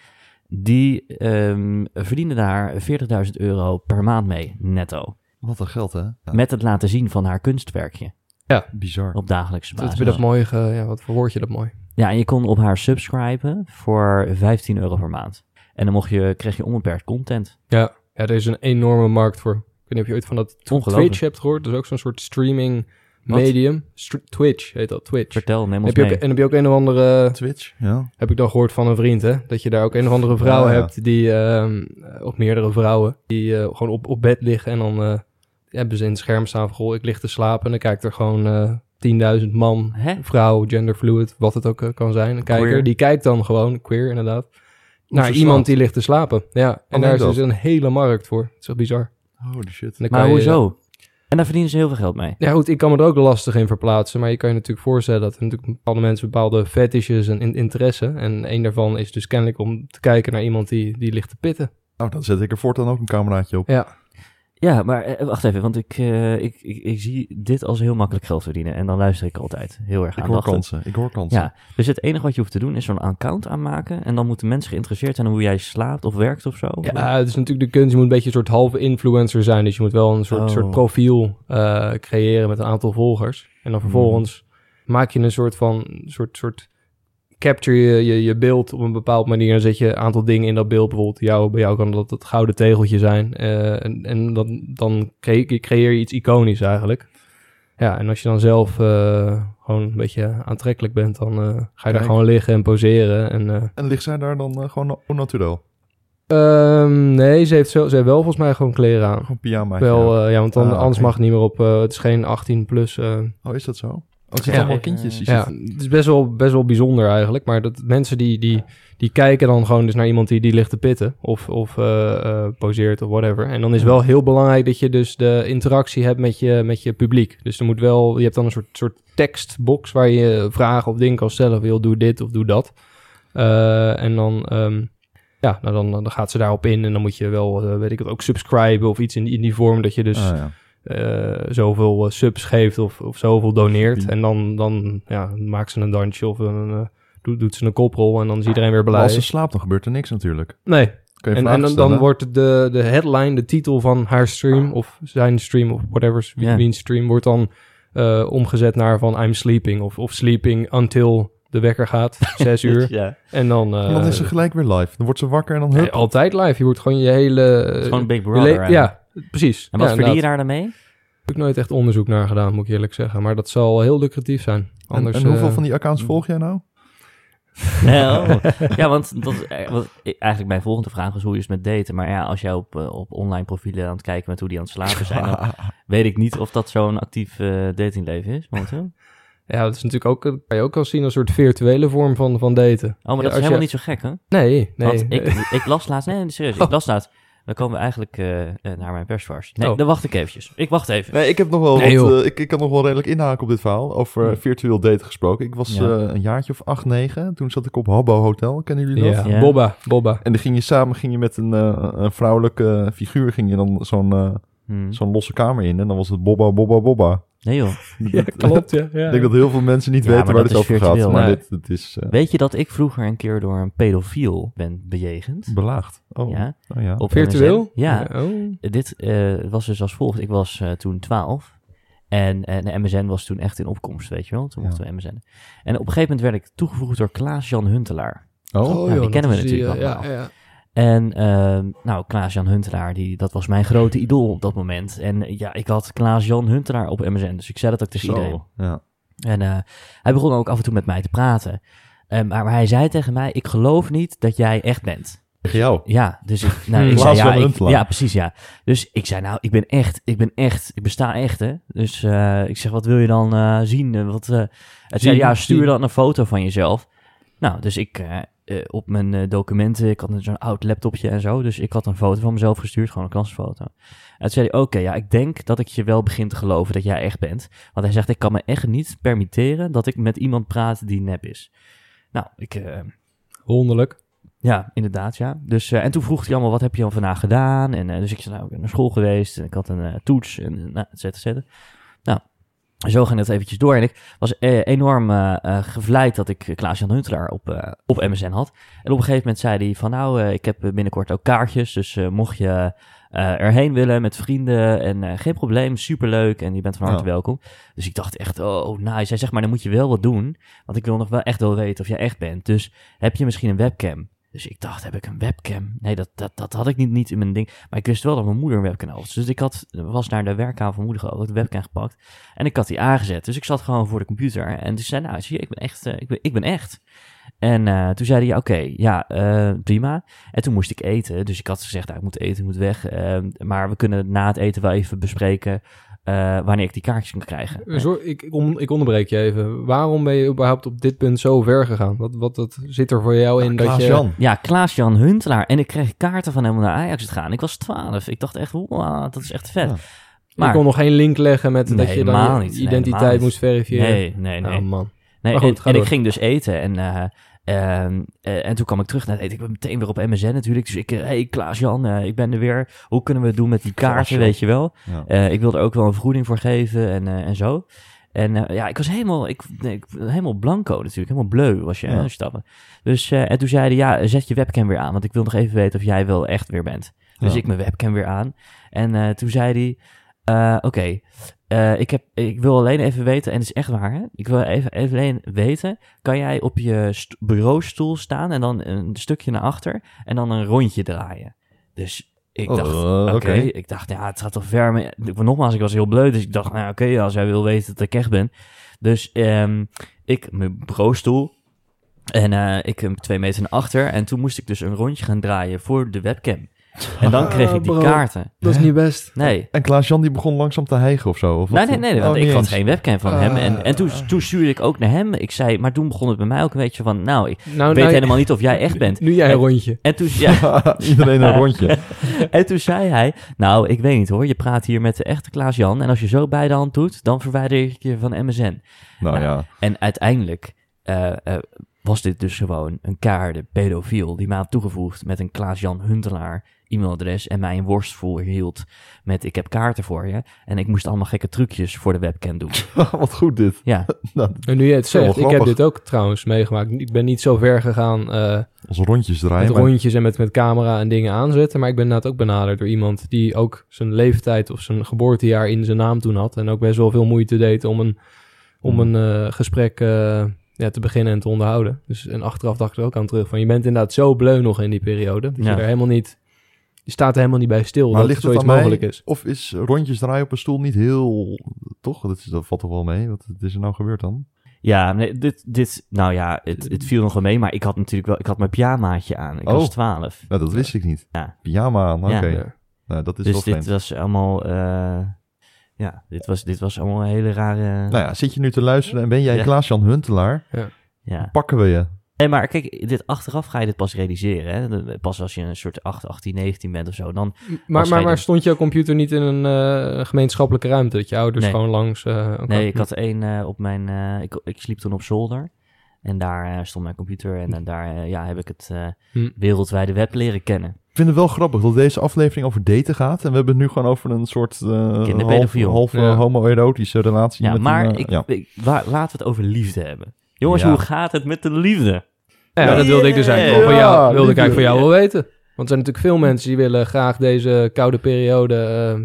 Speaker 2: Die ehm, verdiende daar 40.000 euro per maand mee, netto.
Speaker 3: Wat een geld, hè? Ja,
Speaker 2: Met het laten zien van haar kunstwerkje
Speaker 3: Bizar.
Speaker 2: op dagelijkse
Speaker 4: Dat
Speaker 2: basis.
Speaker 4: heb je dat mooi... ge- ja, wat verwoord je dat mooi.
Speaker 2: Ja, en je kon op haar subscriben voor 15 euro per maand. En dan mocht je, kreeg je onbeperkt content.
Speaker 4: Ja. ja, er is een enorme markt voor. Ik weet niet of je ooit van dat
Speaker 2: Ongelooflijk.
Speaker 4: Twitch hebt gehoord. Dat is ook zo'n soort streaming
Speaker 2: Wat?
Speaker 4: medium. Str- Twitch heet dat, Twitch.
Speaker 2: Vertel, neem ons
Speaker 4: Heb je ook,
Speaker 2: mee.
Speaker 4: en heb je ook een of andere,
Speaker 3: Twitch, ja.
Speaker 4: heb ik dan gehoord van een vriend, hè? Dat je daar ook een of andere vrouw
Speaker 3: Ah, ja.
Speaker 4: hebt die, ehm, of meerdere vrouwen, die eh, gewoon op, op bed liggen en dan eh, hebben ze in het scherm staan van, goh, ik lig te slapen en dan kijkt er gewoon eh 10.000 man,
Speaker 2: Hè?
Speaker 4: vrouw, genderfluid, wat het ook eh, kan zijn, een kijker.
Speaker 2: Queer.
Speaker 4: Die kijkt dan gewoon, queer inderdaad, naar
Speaker 3: ze
Speaker 4: iemand
Speaker 3: slaapt.
Speaker 4: die ligt te slapen. Ja,
Speaker 2: Oh,
Speaker 4: en
Speaker 3: Alleen
Speaker 4: daar is
Speaker 3: dat.
Speaker 4: dus een hele markt voor. Het is echt bizar. En
Speaker 3: Holy shit.
Speaker 4: dan kan
Speaker 2: Maar
Speaker 4: je-
Speaker 2: hoezo? En daar verdienen ze heel veel geld mee.
Speaker 4: Ja, goed, ik kan me er ook lastig in verplaatsen. Maar je kan je natuurlijk voorstellen dat er natuurlijk bepaalde mensen bepaalde fetishes en in- interesse. En een daarvan is dus kennelijk om te kijken naar iemand die, die ligt te pitten.
Speaker 3: Nou, dan zet ik er voortaan ook een cameraatje op.
Speaker 4: Ja,
Speaker 2: Ja, maar eh, wacht even, want ik, eh, ik, ik, ik zie dit als heel makkelijk geld verdienen. En dan luister ik altijd heel erg
Speaker 3: Ik hoor
Speaker 2: aandachtig.
Speaker 3: kansen. Ik hoor kansen.
Speaker 2: Ja, dus het enige wat je hoeft te doen is zo'n account aanmaken. En dan moeten mensen geïnteresseerd zijn in hoe jij slaapt of werkt of zo.
Speaker 4: ja het is natuurlijk de kunst. Je moet een beetje een soort halve influencer zijn. Dus je moet wel een soort,
Speaker 2: Oh.
Speaker 4: soort profiel eh, creëren met een aantal volgers. En
Speaker 2: Hmm.
Speaker 4: dan vervolgens maak je een soort van... Soort, soort capture je, je je beeld op een bepaalde manier. En zet je een aantal dingen in dat beeld. Bijvoorbeeld jou, bij jou kan dat het gouden tegeltje zijn. eh, en en dan, dan creë- creëer je iets iconisch eigenlijk. Ja, en als je dan zelf eh, gewoon een beetje aantrekkelijk bent... dan eh, ga je daar
Speaker 3: Kijk.
Speaker 4: gewoon liggen en poseren. En, eh,
Speaker 3: En ligt zij daar dan eh, gewoon au naturel?
Speaker 4: Ehm, nee, ze heeft, zo, ze heeft wel volgens mij gewoon kleren aan.
Speaker 3: Gewoon pyjama.
Speaker 4: Wel, eh, ja, want dan,
Speaker 3: Ah,
Speaker 4: anders
Speaker 3: oké.
Speaker 4: mag het niet meer op. eh, het is geen 18 plus. eh.
Speaker 3: Oh, is dat zo? Oh, het zijn
Speaker 4: Ja.
Speaker 3: allemaal kindjes. Die
Speaker 4: Ja,
Speaker 3: zitten-
Speaker 4: het is best wel, best wel bijzonder eigenlijk. Maar dat mensen die, die, die kijken dan gewoon dus naar iemand die, die ligt te pitten. Of, of eh, eh, poseert of whatever. En dan is wel heel belangrijk dat je dus de interactie hebt met je, met je publiek. Dus er moet wel, je hebt dan een soort, soort tekstbox waar je vragen of dingen kan stellen. Of joh, doe dit of doe dat. Eh, en dan, ehm, ja, nou dan, dan gaat ze daarop in. En dan moet je wel, eh, weet ik het, ook subscriben of iets in die, in die vorm. Dat je dus
Speaker 3: Ah, ja.
Speaker 4: eh, zoveel eh, subs geeft of, of zoveel doneert.
Speaker 3: Pien.
Speaker 4: En dan, dan ja, maakt ze een dansje of een, eh, doet, doet ze een koprol en dan is iedereen weer
Speaker 3: Maar
Speaker 4: blij.
Speaker 3: als ze slaapt, dan gebeurt er niks natuurlijk.
Speaker 4: Nee,
Speaker 3: Kun je
Speaker 4: en, en
Speaker 3: vragen
Speaker 4: dan,
Speaker 3: stellen.
Speaker 4: dan wordt de, de headline, de titel van haar stream of zijn stream of whatever, wie-
Speaker 1: Ja.
Speaker 4: wiens stream, wordt dan eh, omgezet naar van I'm sleeping of, of sleeping until de wekker gaat, zes uur.
Speaker 2: Ja.
Speaker 4: En dan... eh,
Speaker 3: En dan is ze gelijk weer live. Dan wordt ze wakker en dan
Speaker 4: nee,
Speaker 3: hup.
Speaker 4: altijd live. Je wordt gewoon je hele... eh,
Speaker 2: Het is gewoon Big
Speaker 4: je
Speaker 2: Brother.
Speaker 4: le-
Speaker 2: hè.
Speaker 4: ja, precies.
Speaker 2: En wat
Speaker 4: ja,
Speaker 2: verdien je
Speaker 4: inderdaad.
Speaker 2: daar dan mee?
Speaker 4: Ik heb nooit echt onderzoek naar gedaan, moet ik eerlijk zeggen. Maar dat zal heel lucratief zijn.
Speaker 3: En-
Speaker 4: Anders,
Speaker 3: en hoeveel
Speaker 4: eh,
Speaker 3: van die accounts volg jij nou?
Speaker 2: Nee, oh. ja, want dat is eh, wat i- eigenlijk mijn volgende vraag is hoe je het met daten. Maar ja, als jij op, eh, op online profielen aan het kijken bent hoe die aan het slapen zijn, dan weet ik niet of dat zo'n actief eh, datingleven is. momenteel. Oh,
Speaker 4: Ja, dat is natuurlijk ook, dat kan je ook al zien, een soort virtuele vorm van, van daten.
Speaker 2: Oh, maar
Speaker 4: Ja,
Speaker 2: dat
Speaker 4: als
Speaker 2: is helemaal
Speaker 4: je-
Speaker 2: niet zo gek, hè?
Speaker 4: Nee, nee.
Speaker 2: Want ik, ik las laatst, nee, nee, serieus, ik las laatst. Dan komen we eigenlijk eh, eh, naar mijn persvars. Nee,
Speaker 4: Oh.
Speaker 2: dan wacht ik eventjes. Ik wacht even.
Speaker 3: Nee, ik heb nog wel
Speaker 4: Nee,
Speaker 3: wat,
Speaker 4: joh.
Speaker 3: eh, ik, ik kan nog wel redelijk inhaken op dit verhaal. Over eh, virtueel daten gesproken. Ik was
Speaker 2: Ja.
Speaker 3: eh, een jaartje of acht, negen. Toen zat ik op Habbo Hotel. Kennen jullie dat?
Speaker 4: ja.
Speaker 2: Ja.
Speaker 4: Bobba, Bobba.
Speaker 3: En dan ging je samen ging je met een, eh, een vrouwelijke figuur ging je dan zo'n eh,
Speaker 2: Hmm.
Speaker 3: zo'n losse kamer in. En dan was het Bobba, Bobba, Bobba.
Speaker 2: Nee joh.
Speaker 4: Ja, klopt, ja. ja.
Speaker 3: Ik denk dat heel veel mensen niet
Speaker 2: Ja,
Speaker 3: weten
Speaker 2: maar
Speaker 3: waar
Speaker 2: dat
Speaker 3: dit
Speaker 2: is
Speaker 3: over
Speaker 2: virtueel.
Speaker 3: gaat. Maar
Speaker 4: Nee.
Speaker 3: dit, dit is eh,
Speaker 2: Weet je dat ik vroeger een keer door een pedofiel ben bejegend?
Speaker 3: belaagd. Oh,
Speaker 2: Ja.
Speaker 3: nou ja.
Speaker 2: Op
Speaker 4: Virtueel?
Speaker 2: MSN? Ja.
Speaker 4: Oh.
Speaker 2: Dit eh, was dus als volgt. Ik was eh, toen 12. En, en de MSN was toen echt in opkomst, weet je wel. Toen
Speaker 3: Ja.
Speaker 2: mochten we MSN. En op een gegeven moment werd ik toegevoegd door Klaas-Jan Huntelaar.
Speaker 3: Oh,
Speaker 2: die
Speaker 4: dat
Speaker 2: kennen we
Speaker 4: is die,
Speaker 2: natuurlijk
Speaker 4: eh,
Speaker 2: allemaal.
Speaker 4: ja, ja.
Speaker 2: En ehm, nou, Klaas-Jan Huntelaar, die, dat was mijn grote idool op dat moment. En eh, ja, ik had Klaas-Jan Huntelaar op MSN, dus ik zei dat ook tegen iedereen.
Speaker 3: zo. Ja.
Speaker 2: En eh, hij begon ook af en toe met mij te praten. Eh, maar, maar hij zei tegen mij, ik geloof niet dat jij echt bent.
Speaker 3: Tegen jou.
Speaker 2: Ja, dus ik, nou,
Speaker 4: Hmm.
Speaker 2: ik zei,
Speaker 3: Klaas
Speaker 2: ja,
Speaker 3: van
Speaker 2: ik-
Speaker 3: Huntelaar.
Speaker 2: ja, precies, ja. Dus ik zei, nou, ik ben echt, ik ben echt, ik besta echt, hè. Dus eh, ik zeg, wat wil je dan eh, zien? Eh, Wat, eh het zei,
Speaker 4: Zien,
Speaker 2: ja, stuur
Speaker 4: zien.
Speaker 2: dan een foto van jezelf. Nou, dus ik, eh, eh, op mijn eh, documenten, ik had een- zo'n oud laptopje en zo, dus ik had een foto van mezelf gestuurd, gewoon een klasfoto. En toen zei hij, oké, ja, ik denk dat ik je wel begin te geloven dat jij echt bent. Want hij zegt, ik kan me echt niet permitteren dat ik met iemand praat die nep is. Nou, ik... eh,
Speaker 4: Wonderlijk.
Speaker 2: ja, inderdaad, ja. Dus, eh, en toen vroeg hij allemaal, wat heb je dan vandaag gedaan? En eh, dus ik zei, nou, ik ben naar school geweest en ik had een eh, toets en eh, nou, et cetera, et cetera. Nou, zo ging het eventjes door. En ik was eh, enorm eh, eh, gevleid dat ik Klaas-Jan Huntelaar op, eh, op MSN had. En op een gegeven moment zei hij van, nou, eh, ik heb binnenkort ook kaartjes. Dus eh, mocht je eh, erheen willen met vrienden en eh, geen probleem, superleuk. En je bent van harte
Speaker 3: Ja.
Speaker 2: welkom. Dus ik dacht echt, oh, nice. Hij zegt, maar dan moet je wel wat doen. Want ik wil nog wel echt wel weten of jij echt bent. Dus heb je misschien een webcam? Dus ik dacht, heb ik een webcam? Nee, dat, dat, dat had ik niet, niet in mijn ding. Maar ik wist wel dat mijn moeder een webcam had. Dus ik had, was naar de werkkamer van mijn moeder gegaan, had ik de webcam gepakt. En ik had die aangezet. Dus ik zat gewoon voor de computer. En toen zei hij, nou, zie je, ik ben echt. eh, ik, ben, ik ben echt. En eh, toen zei hij, ja, oké, ja, eh, prima. En toen moest ik eten. Dus ik had gezegd, nou, ik moet eten, ik moet weg. Eh, maar we kunnen na het eten wel even bespreken eh, wanneer ik die kaartjes kan krijgen.
Speaker 4: Eh, Sorry, ik, ik, on- ik onderbreek je even. Waarom ben je überhaupt op dit punt zo ver gegaan? Wat, wat, wat zit er voor jou in dat je...
Speaker 3: Klaas-Jan.
Speaker 2: Ja, Klaas-Jan Huntelaar. En ik kreeg kaarten van hem om naar Ajax te gaan. Ik was 12. Ik dacht echt, wow, dat is echt vet.
Speaker 3: Ja.
Speaker 4: Ik
Speaker 2: Maar
Speaker 4: kon nog geen link leggen met
Speaker 2: Nee,
Speaker 4: dat je dan
Speaker 2: helemaal
Speaker 4: je
Speaker 2: niet. Nee,
Speaker 4: identiteit
Speaker 2: helemaal niet.
Speaker 4: moest verifiëren.
Speaker 2: nee, nee, nee.
Speaker 4: Oh, man.
Speaker 2: Nee,
Speaker 4: Maar goed,
Speaker 2: en,
Speaker 4: ga
Speaker 2: en ik
Speaker 4: door.
Speaker 2: ging dus eten en, eh, ehm, eh, en toen kwam ik terug naar het eten. Ik ben meteen weer op MSN natuurlijk. Dus ik, eh, hey Klaas-Jan, eh, ik ben er weer. Hoe kunnen we het doen met die kaarten,
Speaker 3: Klaas-Jan.
Speaker 2: weet je wel?
Speaker 3: Ja.
Speaker 2: Eh, ik wil er ook wel een vergoeding voor geven en, eh, en zo. En eh, ja, ik was helemaal, ik, nee, ik- helemaal blanco natuurlijk. Helemaal bleu was je
Speaker 3: Ja.
Speaker 2: aan het stappen. Dus, eh, en toen zeiden ja, zet je webcam weer aan. Want ik wil nog even weten of jij wel echt weer bent. Dus
Speaker 3: Ja.
Speaker 2: ik mijn webcam weer aan. En eh, toen zei hij, eh, oké, eh, ik, heb, ik wil alleen even weten, en het is echt waar, hè? ik wil even, even alleen weten, kan jij op je st- bureaustoel staan en dan een stukje naar achter en dan een rondje draaien? Dus ik
Speaker 3: Oh,
Speaker 2: dacht,
Speaker 3: eh,
Speaker 2: oké,
Speaker 3: oké.
Speaker 2: ik dacht, ja, het gaat toch ver. Maar ik- nogmaals, ik was heel bleu, dus ik dacht, nou, oké, als jij wil weten dat ik echt ben. Dus ehm, ik, mijn bureaustoel, en eh, ik hem twee meter naar achter. En toen moest ik dus een rondje gaan draaien voor de webcam. En dan kreeg ik
Speaker 3: Oh,
Speaker 2: die
Speaker 4: bro.
Speaker 2: kaarten.
Speaker 4: Dat is niet best.
Speaker 2: Nee.
Speaker 3: En Klaas-Jan die begon langzaam te hijgen of zo? Of
Speaker 2: Nee,
Speaker 3: wat?
Speaker 2: nee, nee,
Speaker 3: Oh,
Speaker 2: want ik
Speaker 3: niet
Speaker 2: had
Speaker 3: eens. Ah.
Speaker 2: geen webcam van hem. En, en toen, toen stuurde ik ook naar hem. Ik zei, maar toen begon het bij mij ook een beetje van, nou, ik
Speaker 4: Nou,
Speaker 2: weet
Speaker 4: nou,
Speaker 2: helemaal niet of jij echt bent.
Speaker 4: Nu jij een rondje.
Speaker 2: En toen, ja,
Speaker 3: Iedereen een rondje.
Speaker 2: en toen zei hij, nou, ik weet niet hoor, je praat hier met de echte Klaas-Jan. En als je zo bij de hand doet, dan verwijder ik je van MSN.
Speaker 3: Nou ja.
Speaker 2: En uiteindelijk eh, eh, was dit dus gewoon een kaarde pedofiel die mij had toegevoegd met een Klaas-Jan Huntelaar e-mailadres en mij een worst voorhield met ik heb kaarten voor je en ik moest allemaal gekke trucjes voor de webcam doen.
Speaker 3: Wat goed dit.
Speaker 2: Ja,
Speaker 4: En nu jij het
Speaker 3: Wel
Speaker 4: zegt, ik heb
Speaker 3: grappig.
Speaker 4: dit ook trouwens meegemaakt. Ik ben niet zo ver gegaan eh,
Speaker 3: Als rondjes draaien.
Speaker 4: met
Speaker 3: maar-
Speaker 4: rondjes en met, met camera en dingen aanzetten. Maar ik ben inderdaad ook benaderd door iemand die ook zijn leeftijd of zijn geboortejaar in zijn naam toen had. En ook best wel veel moeite deed om een, om
Speaker 3: Hmm.
Speaker 4: een eh, gesprek eh, ja, te beginnen en te onderhouden. Dus en achteraf dacht ik er ook aan terug van je bent inderdaad zo bleu nog in die periode. Dat
Speaker 2: Ja.
Speaker 4: je er helemaal niet, je staat er helemaal niet bij stil
Speaker 3: Maar
Speaker 4: dat
Speaker 3: ligt het
Speaker 4: zoiets
Speaker 3: aan mij?
Speaker 4: mogelijk is.
Speaker 3: Of is rondjes draaien op een stoel niet heel... Toch? Dat, is, dat valt toch wel mee? Wat is er nou gebeurd dan?
Speaker 2: ja nee, dit, dit, nou ja, het, het viel nog wel mee, maar ik had natuurlijk wel, ik had mijn pyjamaatje aan. Ik was
Speaker 3: Oh.
Speaker 2: twaalf.
Speaker 3: Nou, dat wist ik niet.
Speaker 2: Ja.
Speaker 3: Pyjama aan, oké.
Speaker 2: Ja.
Speaker 4: Ja.
Speaker 3: Nou, dat is wel
Speaker 2: Dus
Speaker 3: vreemd.
Speaker 2: dit was allemaal, eh, ja, dit was, dit was allemaal een hele rare...
Speaker 3: Nou ja, zit je nu te luisteren en ben jij
Speaker 2: eh, Ja.
Speaker 3: Klaas-Jan Huntelaar?
Speaker 2: ja.
Speaker 3: Pakken we je.
Speaker 2: Nee, maar kijk, dit achteraf ga je dit pas realiseren. Hè? De- Pas als je een soort 8, 18, 19 bent of zo. Dan,
Speaker 4: Maar, maar,
Speaker 2: scheiden.
Speaker 4: maar stond jouw computer niet in een eh, gemeenschappelijke ruimte? Dat je ouders
Speaker 2: Nee.
Speaker 4: gewoon langs... eh, oké.
Speaker 2: nee, ik had één eh, op mijn... eh, ik, ik sliep toen op zolder. En daar eh, stond mijn computer. En, eh, daar eh, ja, heb ik het eh,
Speaker 4: Hm.
Speaker 2: wereldwijde web leren kennen.
Speaker 3: Ik vind het wel grappig dat deze aflevering over daten gaat. En we hebben het nu gewoon over een soort eh half,
Speaker 2: Kinderpedofiel.
Speaker 3: half, eh,
Speaker 4: Ja.
Speaker 3: homoerotische relatie.
Speaker 2: Ja,
Speaker 3: met
Speaker 2: maar
Speaker 3: een, eh,
Speaker 2: ik,
Speaker 3: ja.
Speaker 2: ik- wa- laten we het over liefde hebben. Jongens,
Speaker 3: Ja.
Speaker 2: hoe gaat het met de liefde?
Speaker 4: Ja,
Speaker 3: Ja.
Speaker 4: dat wilde ik dus eigenlijk
Speaker 3: Yeah.
Speaker 4: wel van jou,
Speaker 3: Ja,
Speaker 4: wilde ik
Speaker 3: liefde.
Speaker 4: eigenlijk van jou wel weten. Want er zijn natuurlijk veel mensen die willen graag deze koude periode